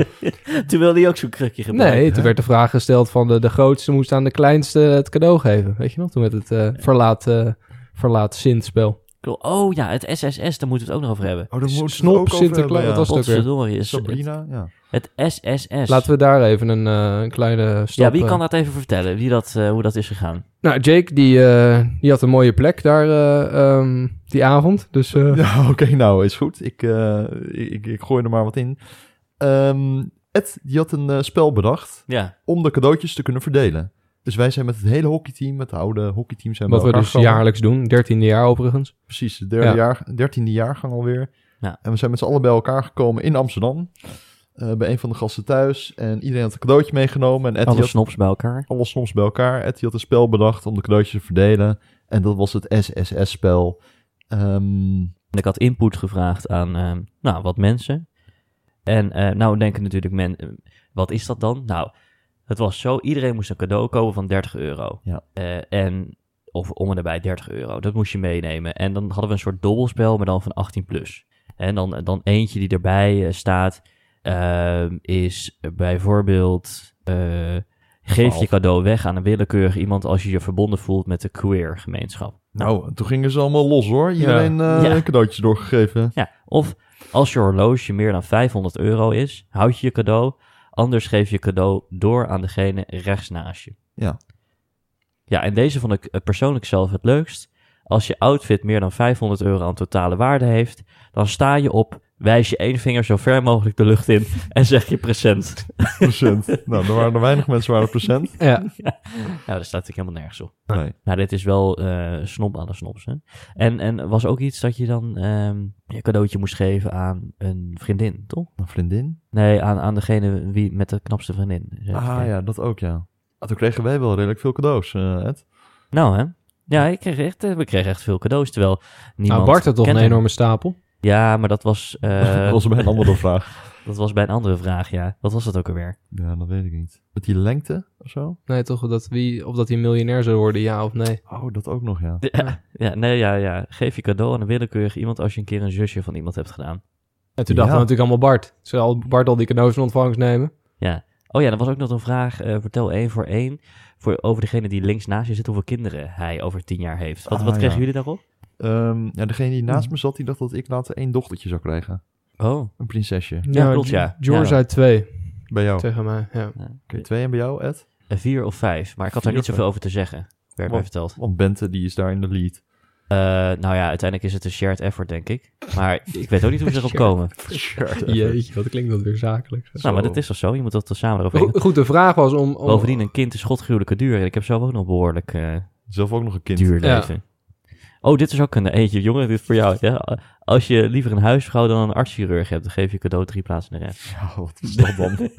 Speaker 2: toen wilde hij ook zo'n krukje gebruiken.
Speaker 4: nee, toen werd de vraag gesteld van de, de grootste moest aan de kleinste het cadeau geven. Weet je nog? Toen met het eh, verlaat, eh verlaat Sint-spel.
Speaker 2: Cool. Oh ja, het SSS, daar moeten we het ook nog over hebben.
Speaker 3: Oh, dan moet
Speaker 4: Snop, Sinterklaas,
Speaker 3: ja.
Speaker 4: wat was het ook weer?
Speaker 2: Potverdorie, is het,
Speaker 3: eh, Sabrina, ja.
Speaker 2: het SSS.
Speaker 4: Laten we daar even een, eh, een kleine stap...
Speaker 2: ja, wie
Speaker 4: eh,
Speaker 2: kan dat even vertellen, wie dat, eh, hoe dat is gegaan?
Speaker 4: Nou, Jake, die, eh, die had een mooie plek daar eh, ehm, die avond. Dus eh,
Speaker 3: Ja, oké, nou is goed. Ik, eh, ik, ik gooi er maar wat in. Ehm, Ed, die had een eh, spel bedacht
Speaker 2: Ja,
Speaker 3: om de cadeautjes te kunnen verdelen. Dus wij zijn met het hele hockeyteam, met de oude hockeyteam zijn
Speaker 4: wat
Speaker 3: bij
Speaker 4: we
Speaker 3: elkaar
Speaker 4: dus
Speaker 3: gekomen.
Speaker 4: jaarlijks doen. Dertiende jaar overigens.
Speaker 3: Precies, de derde
Speaker 4: Ja.
Speaker 3: jaar, dertiende jaargang alweer.
Speaker 2: Ja.
Speaker 3: En we zijn met z'n allen bij elkaar gekomen in Amsterdam. eh, bij een van de gasten thuis. En iedereen had een cadeautje meegenomen. En Ed
Speaker 2: alle
Speaker 3: die had
Speaker 2: snops bij elkaar.
Speaker 3: alles soms bij elkaar. Ed die had een spel bedacht om de cadeautjes te verdelen. En dat was het SSS-spel. Ehm
Speaker 2: En ik had input gevraagd aan ehm, nou, wat mensen. En eh, nou denken natuurlijk men, eh, wat is dat dan? Nou, het was zo, iedereen moest een cadeau kopen van 30 euro.
Speaker 3: Ja.
Speaker 2: Eh, en, of om en nabij 30 euro, dat moest je meenemen. En dan hadden we een soort dobbelspel, maar dan van 18 plus. En dan, dan eentje die erbij eh, staat, ehm, is bijvoorbeeld... eh, geef je
Speaker 3: Twaalf.
Speaker 2: cadeau weg aan een willekeurig iemand als je je verbonden voelt met de queer gemeenschap.
Speaker 3: nou, toen gingen ze allemaal los hoor. Iedereen eh,
Speaker 2: Ja.
Speaker 3: cadeautjes doorgegeven.
Speaker 2: Ja, of als je horloge meer dan 500 euro is, houd je je cadeau. Anders geef je cadeau door aan degene rechts naast je.
Speaker 3: Ja.
Speaker 2: Ja, en deze vond ik eh, persoonlijk zelf het leukst. Als je outfit meer dan 500 euro aan totale waarde heeft, dan sta je op, wijs je één vinger zo ver mogelijk de lucht in en zeg je present.
Speaker 3: Procent. nou, er waren er weinig mensen waren procent.
Speaker 4: Ja,
Speaker 2: Nou, daar staat ik helemaal nergens op.
Speaker 3: Nee.
Speaker 2: Nou, dit is wel eh snob aan de snobs, hè. En, en was ook iets dat je dan ehm, je cadeautje moest geven aan een vriendin, toch?
Speaker 3: Een vriendin?
Speaker 2: Nee, aan, aan degene wie, met de knapste vriendin. zeg ik.
Speaker 3: Ah ja, dat ook ja. Ah, toen kregen wij wel redelijk veel cadeaus, eh, Ed.
Speaker 2: Nou hè? Ja, ik kreeg echt, eh, we kregen echt veel cadeaus, terwijl niemand...
Speaker 4: nou, Bart had toch een
Speaker 2: kent hem.
Speaker 4: enorme stapel.
Speaker 2: Ja, maar dat was, eh,
Speaker 3: dat was bij een andere vraag.
Speaker 2: dat was bij een andere vraag, ja. Wat was dat ook alweer?
Speaker 3: Ja, dat weet ik niet. Met die lengte of zo?
Speaker 4: Nee, toch dat wie, of dat hij miljonair zou worden, ja of nee.
Speaker 3: Oh, dat ook nog ja.
Speaker 2: Ja, ja, nee, ja, ja. Geef je cadeau aan een willekeurig iemand als je een keer een zusje van iemand hebt gedaan.
Speaker 4: En toen dachten
Speaker 3: Ja.
Speaker 4: we natuurlijk allemaal Bart. Zal Bart al die cadeaus in ontvangst nemen?
Speaker 2: Oh ja, er was ook nog een vraag, eh, vertel één voor één, voor, over degene die links naast je zit, hoeveel kinderen hij over tien jaar heeft. Wat,
Speaker 3: Ah,
Speaker 2: wat kregen
Speaker 3: ja.
Speaker 2: jullie daarop?
Speaker 3: Ehm, ja, degene die
Speaker 2: Mm.
Speaker 3: naast me zat, die dacht dat ik later één dochtertje zou krijgen.
Speaker 2: Oh,
Speaker 3: Een prinsesje.
Speaker 2: Ja, klopt, ja.
Speaker 4: George
Speaker 2: Ja.
Speaker 4: uit twee
Speaker 3: Bij jou. Oké,
Speaker 4: tegen mij, ja.
Speaker 3: twee en bij jou, Ed?
Speaker 2: eh, vier of vijf, maar ik had daar
Speaker 3: Vier
Speaker 2: niet
Speaker 3: of
Speaker 2: zoveel over te zeggen, werd mij
Speaker 3: Wat?
Speaker 2: verteld.
Speaker 3: Want Bente die is daar in de lead.
Speaker 2: Eh, nou ja, uiteindelijk is het een shared effort, denk ik. Maar ik weet ook niet hoe ze erop komen.
Speaker 4: Jeetje, wat klinkt dat weer zakelijk. zo.
Speaker 2: Nou, maar dat is toch zo? Je moet dat toch samen erover
Speaker 4: Go-
Speaker 2: hebben.
Speaker 4: Goed, de vraag was om... om
Speaker 2: Bovendien, een kind is godgruwelijke duur. En ik heb zelf ook nog behoorlijk eh,
Speaker 3: Zelf ook nog een kind.
Speaker 2: duur
Speaker 4: Ja.
Speaker 2: leven. Oh, dit is ook een eentje. Jongen, dit is voor jou. Ja. Als je liever een huisvrouw dan een artschirurg hebt, dan geef je cadeau drie plaatsen in de rij.
Speaker 3: Ja, wat is dat dan?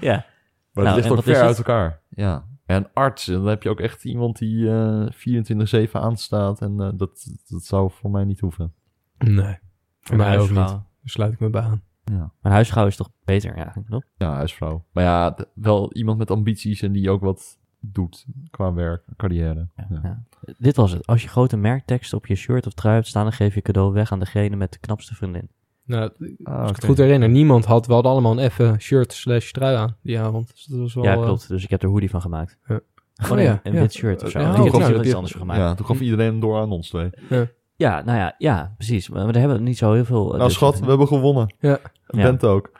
Speaker 2: Ja.
Speaker 3: Maar
Speaker 2: Nou,
Speaker 3: het
Speaker 2: en
Speaker 3: ligt ook
Speaker 2: wat is
Speaker 3: ver
Speaker 2: het?
Speaker 3: uit elkaar. Ja. En arts, en dan heb je ook echt iemand die eh 24-7 aanstaat. En eh, dat, dat zou voor mij niet hoeven.
Speaker 4: Nee, voor mij ook niet.
Speaker 2: huisvrouw.
Speaker 4: Daar sluit ik me bij aan.
Speaker 2: Maar een huisvrouw is toch beter eigenlijk, toch?
Speaker 3: Ja, huisvrouw. Maar ja, d- wel iemand met ambities en die ook wat doet qua werk, carrière. Ja.
Speaker 2: Dit was het. Als je grote merktekst op je shirt of trui hebt staan, dan geef je cadeau weg aan degene met de knapste vriendin.
Speaker 4: Nou,
Speaker 3: Ah,
Speaker 4: als ik het
Speaker 3: oké.
Speaker 4: goed herinner, niemand had... We hadden allemaal een effen shirt slash trui aan die avond. Dus dat was wel...
Speaker 2: ja,
Speaker 4: eh,
Speaker 2: klopt. Dus ik heb er hoodie van gemaakt.
Speaker 4: Ja.
Speaker 2: Gewoon
Speaker 4: Oh ja,
Speaker 2: een, een
Speaker 4: ja.
Speaker 2: wit shirt of zo.
Speaker 4: Ja,
Speaker 2: ik
Speaker 4: oh,
Speaker 2: heb er
Speaker 4: nou,
Speaker 2: iets
Speaker 4: dat-
Speaker 2: anders van gemaakt. Ja.
Speaker 3: Ja, toen gaf iedereen hem door aan ons twee.
Speaker 2: nou ja, ja, precies. Maar, maar daar hebben we niet zo heel veel... eh,
Speaker 3: Nou
Speaker 2: dus-
Speaker 3: schat, we hebben gewonnen.
Speaker 4: Ja.
Speaker 3: En Bent ook.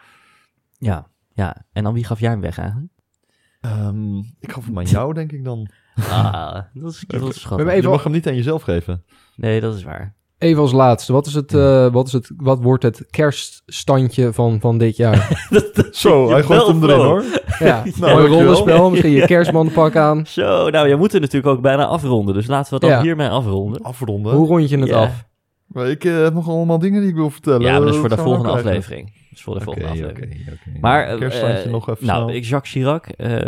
Speaker 2: Ja, ja. En dan wie gaf jij hem weg eigenlijk?
Speaker 3: Ehm, ik gaf hem aan jou, denk ik dan.
Speaker 2: Ah, dat is, dat is
Speaker 4: We hebben
Speaker 2: schattig.
Speaker 4: even-
Speaker 3: Je mag hem niet aan jezelf geven.
Speaker 2: Nee, dat is waar.
Speaker 4: eh, Even als laatste, wat, is het, eh, wat, is het, wat wordt het kerststandje van, van dit jaar?
Speaker 3: Zo, hij gooit
Speaker 2: wel
Speaker 3: hem erin
Speaker 2: flow.
Speaker 3: hoor.
Speaker 4: ja, mooi
Speaker 3: dankjewel.
Speaker 4: rollenspel, misschien je kerstmannenpak aan.
Speaker 2: Zo, nou, je moet er natuurlijk ook bijna afronden. Dus laten we het dan
Speaker 4: Ja.
Speaker 2: hiermee afronden.
Speaker 3: Afronden.
Speaker 4: Hoe rond je het
Speaker 2: Ja.
Speaker 4: af?
Speaker 3: Maar ik eh, heb nog allemaal dingen die ik wil vertellen.
Speaker 2: Ja, maar dat is
Speaker 3: Eh,
Speaker 2: voor de
Speaker 3: gaan we
Speaker 2: volgende
Speaker 3: krijgen.
Speaker 2: aflevering. Dat is voor de
Speaker 3: Oké,
Speaker 2: volgende aflevering.
Speaker 3: oké, oké.
Speaker 2: Maar, eh,
Speaker 3: kerststandje
Speaker 2: eh,
Speaker 3: nog even
Speaker 2: Nou,
Speaker 3: snel.
Speaker 2: ik, Jacques Chirac, eh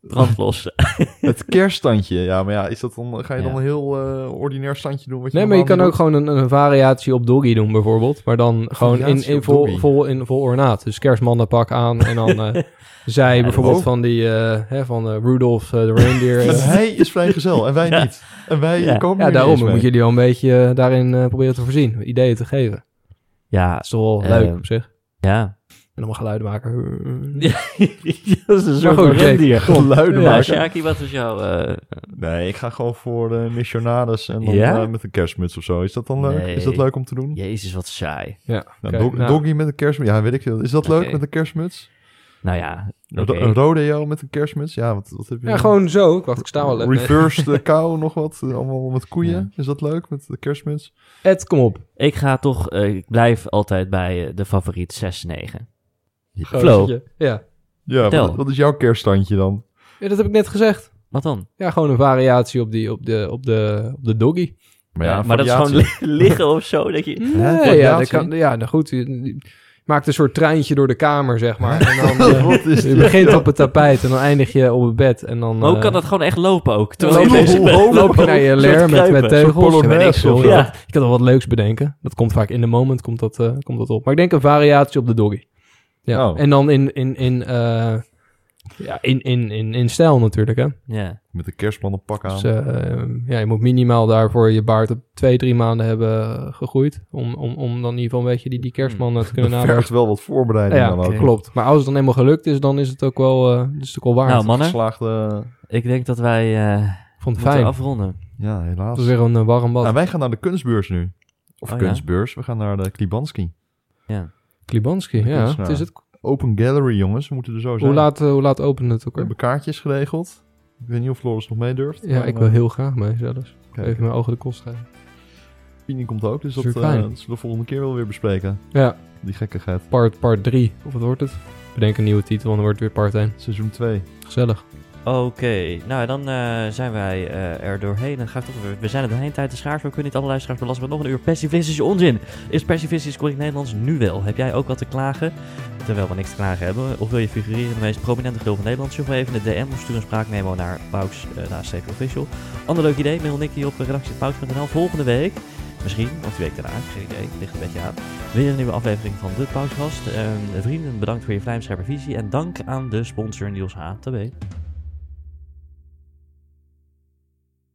Speaker 2: brand los.
Speaker 3: Het kerststandje, ja, maar ja, is dat dan, ga je dan
Speaker 2: Ja.
Speaker 3: een heel eh, ordinair standje doen? Wat je
Speaker 4: Nee, maar je
Speaker 3: normaal
Speaker 4: kan
Speaker 3: niet
Speaker 4: ook gewoon een, een variatie op doggy doen bijvoorbeeld. Maar dan gewoon in,
Speaker 3: variatie
Speaker 4: in,
Speaker 3: op
Speaker 4: vol,
Speaker 3: doggy.
Speaker 4: vol, in vol ornaat. Dus kerstmannenpak aan en dan eh, zij bijvoorbeeld
Speaker 3: oh.
Speaker 4: van die eh, hè, van eh, Rudolph eh, de reindeer.
Speaker 3: doet?
Speaker 4: eh.
Speaker 3: En hij is vrijgezel en wij
Speaker 2: Ja.
Speaker 3: niet. En wij
Speaker 2: Ja.
Speaker 3: komen
Speaker 4: ja,
Speaker 3: er
Speaker 4: daarom
Speaker 3: niet eens
Speaker 4: moet
Speaker 3: mee.
Speaker 4: je die wel een beetje eh, daarin eh, proberen te voorzien. Ideeën te geven.
Speaker 2: ja,
Speaker 4: Dat is toch wel
Speaker 2: Eh,
Speaker 4: leuk op zich. En
Speaker 2: ja.
Speaker 4: dan maar geluiden maken.
Speaker 2: dat is een
Speaker 4: Maar
Speaker 2: soort
Speaker 3: Oh,
Speaker 4: goed, Jake.
Speaker 2: rendier.
Speaker 3: Geluiden
Speaker 2: Ja,
Speaker 3: maken.
Speaker 2: Shaki, Nou, wat is jouw... eh,
Speaker 3: Nee, ik ga gewoon voor eh missionaris en dan
Speaker 2: Ja?
Speaker 3: eh, met een kerstmuts of zo. Is dat dan leuk? Is dat
Speaker 2: Nee.
Speaker 3: leuk om te doen?
Speaker 2: jezus, wat saai.
Speaker 4: Ja,
Speaker 3: Nou,
Speaker 4: oké,
Speaker 3: dog-
Speaker 4: nou,
Speaker 3: Doggy met een kerstmuts, ja, weet ik veel. Is dat leuk
Speaker 2: Oké.
Speaker 3: met een kerstmuts?
Speaker 2: Nou ja,
Speaker 3: Een
Speaker 2: oké.
Speaker 3: ro- Een rodeo met een kerstmuts? Ja, wat, wat heb je?
Speaker 4: ja, gewoon zo. Ik wacht, ik sta wel even.
Speaker 3: Reverse de kou nog wat, eh, allemaal met koeien. Is dat leuk met de kerstmuts?
Speaker 4: Ed, kom op.
Speaker 2: ik ga toch... eh, ik blijf altijd bij eh, de favoriet 6-9. Flo,
Speaker 4: Gozer. Ja.
Speaker 3: Ja,
Speaker 2: Vertel.
Speaker 3: wat, wat is jouw kerststandje dan?
Speaker 4: ja, dat heb ik net gezegd.
Speaker 2: wat dan?
Speaker 4: Ja, gewoon een variatie op, die, op, de, op, de, op de doggy.
Speaker 2: Ja,
Speaker 3: een
Speaker 2: Eh, maar dat is gewoon
Speaker 3: variatie. Mm.
Speaker 2: li- liggen of zo. Dat je...
Speaker 3: een
Speaker 4: Nee, ja, dat
Speaker 3: variatie.
Speaker 4: kan, ja nou goed. Je, je maakt een soort treintje door de kamer, zeg maar. En dan, eh,
Speaker 3: Wat is
Speaker 4: je
Speaker 3: dit?
Speaker 4: begint op het tapijt en dan eindig je op het bed. En dan,
Speaker 2: Maar hoe
Speaker 4: eh,
Speaker 2: kan dat gewoon echt lopen ook?
Speaker 4: loop
Speaker 2: Terwijl je
Speaker 4: je-
Speaker 2: bezig bent.
Speaker 3: loop-
Speaker 4: Loop je naar je
Speaker 2: Een
Speaker 4: leer
Speaker 2: soort
Speaker 4: met,
Speaker 2: kruipen.
Speaker 4: met teugels.
Speaker 3: soort
Speaker 4: Ja, weet ik
Speaker 3: polonaise of
Speaker 4: veel.
Speaker 3: zo.
Speaker 4: Ja, ik kan er wat leuks bedenken. Dat komt vaak in de moment, komt dat, eh, komt dat op. Maar ik denk een variatie op de doggy. Ja.
Speaker 3: Oh.
Speaker 4: En dan in, in, in, eh, ja, in, in, in, in stijl natuurlijk, hè.
Speaker 2: Ja.
Speaker 3: Met de kerstman een pak aan.
Speaker 4: Dus eh, ja, je moet minimaal daarvoor je baard op twee, drie maanden hebben gegroeid. Om, om, om dan in ieder geval een beetje die, die kerstman eh, te
Speaker 3: dat
Speaker 4: kunnen nadenken.
Speaker 3: vergt wel wat voorbereiding
Speaker 4: Ja,
Speaker 3: dan ook.
Speaker 4: klopt. Maar als het dan eenmaal gelukt is, dan is het ook wel, eh, is het ook wel waard.
Speaker 2: Nou mannen,
Speaker 3: Geslaagde,
Speaker 2: ik denk dat wij eh
Speaker 4: ik vond het
Speaker 2: moeten
Speaker 4: fijn.
Speaker 2: afronden.
Speaker 3: ja, helaas.
Speaker 4: Dat is weer een eh, warm bad.
Speaker 3: Nou, wij gaan naar de kunstbeurs nu. Of
Speaker 2: Oh, ja.
Speaker 3: kunstbeurs, we gaan naar de Klibanski.
Speaker 4: Klibanski,
Speaker 3: de
Speaker 4: ja.
Speaker 3: kunstenaar.
Speaker 4: Het is eh, het.
Speaker 3: Open gallery, jongens. We moeten er zo zijn.
Speaker 4: Hoe laat, eh, hoe laat opent het ook
Speaker 3: We
Speaker 4: weer?
Speaker 3: hebben kaartjes geregeld. Ik weet niet of Floris nog mee durft.
Speaker 4: Ja,
Speaker 3: maar,
Speaker 4: ik wil
Speaker 3: eh,
Speaker 4: heel graag mee zelfs.
Speaker 3: kijk,
Speaker 4: Even mijn ogen de kost geven.
Speaker 3: Pini komt ook, dus dat,
Speaker 4: Super fijn.
Speaker 3: eh, dat zullen we de volgende keer wel weer bespreken.
Speaker 4: Ja,
Speaker 3: Die gekkigheid.
Speaker 4: part 3. Part drie. of wat wordt het? Bedenk een nieuwe titel, want dan wordt het weer part 1.
Speaker 3: Seizoen 2.
Speaker 4: Gezellig.
Speaker 2: Oké, nou dan eh, zijn wij eh, er doorheen. Dan ga ik toch weer- we zijn er doorheen tijd de schaars. We kunnen niet alle luisteraars belasten met nog een uur pessimistisch onzin. Is pessimistisch correct Nederlands nu wel? Heb jij ook wat te klagen? Terwijl we niks te klagen hebben. Of wil je figureren in de meest prominente deel van Nederland? Stuur me even een DM of stuur een spraakmemo naar Pauks, eh naar Steven Official. Ander leuk idee, mail Nicky op redactie.pauks.nl. Volgende week, misschien, of die week daarna, geen idee, ligt een beetje aan. Weer een nieuwe aflevering van Ehm, De Pausgast. Eh, vrienden, bedankt voor je vlijmscherpe visie. En dank aan de sponsor Niels H. Tabé.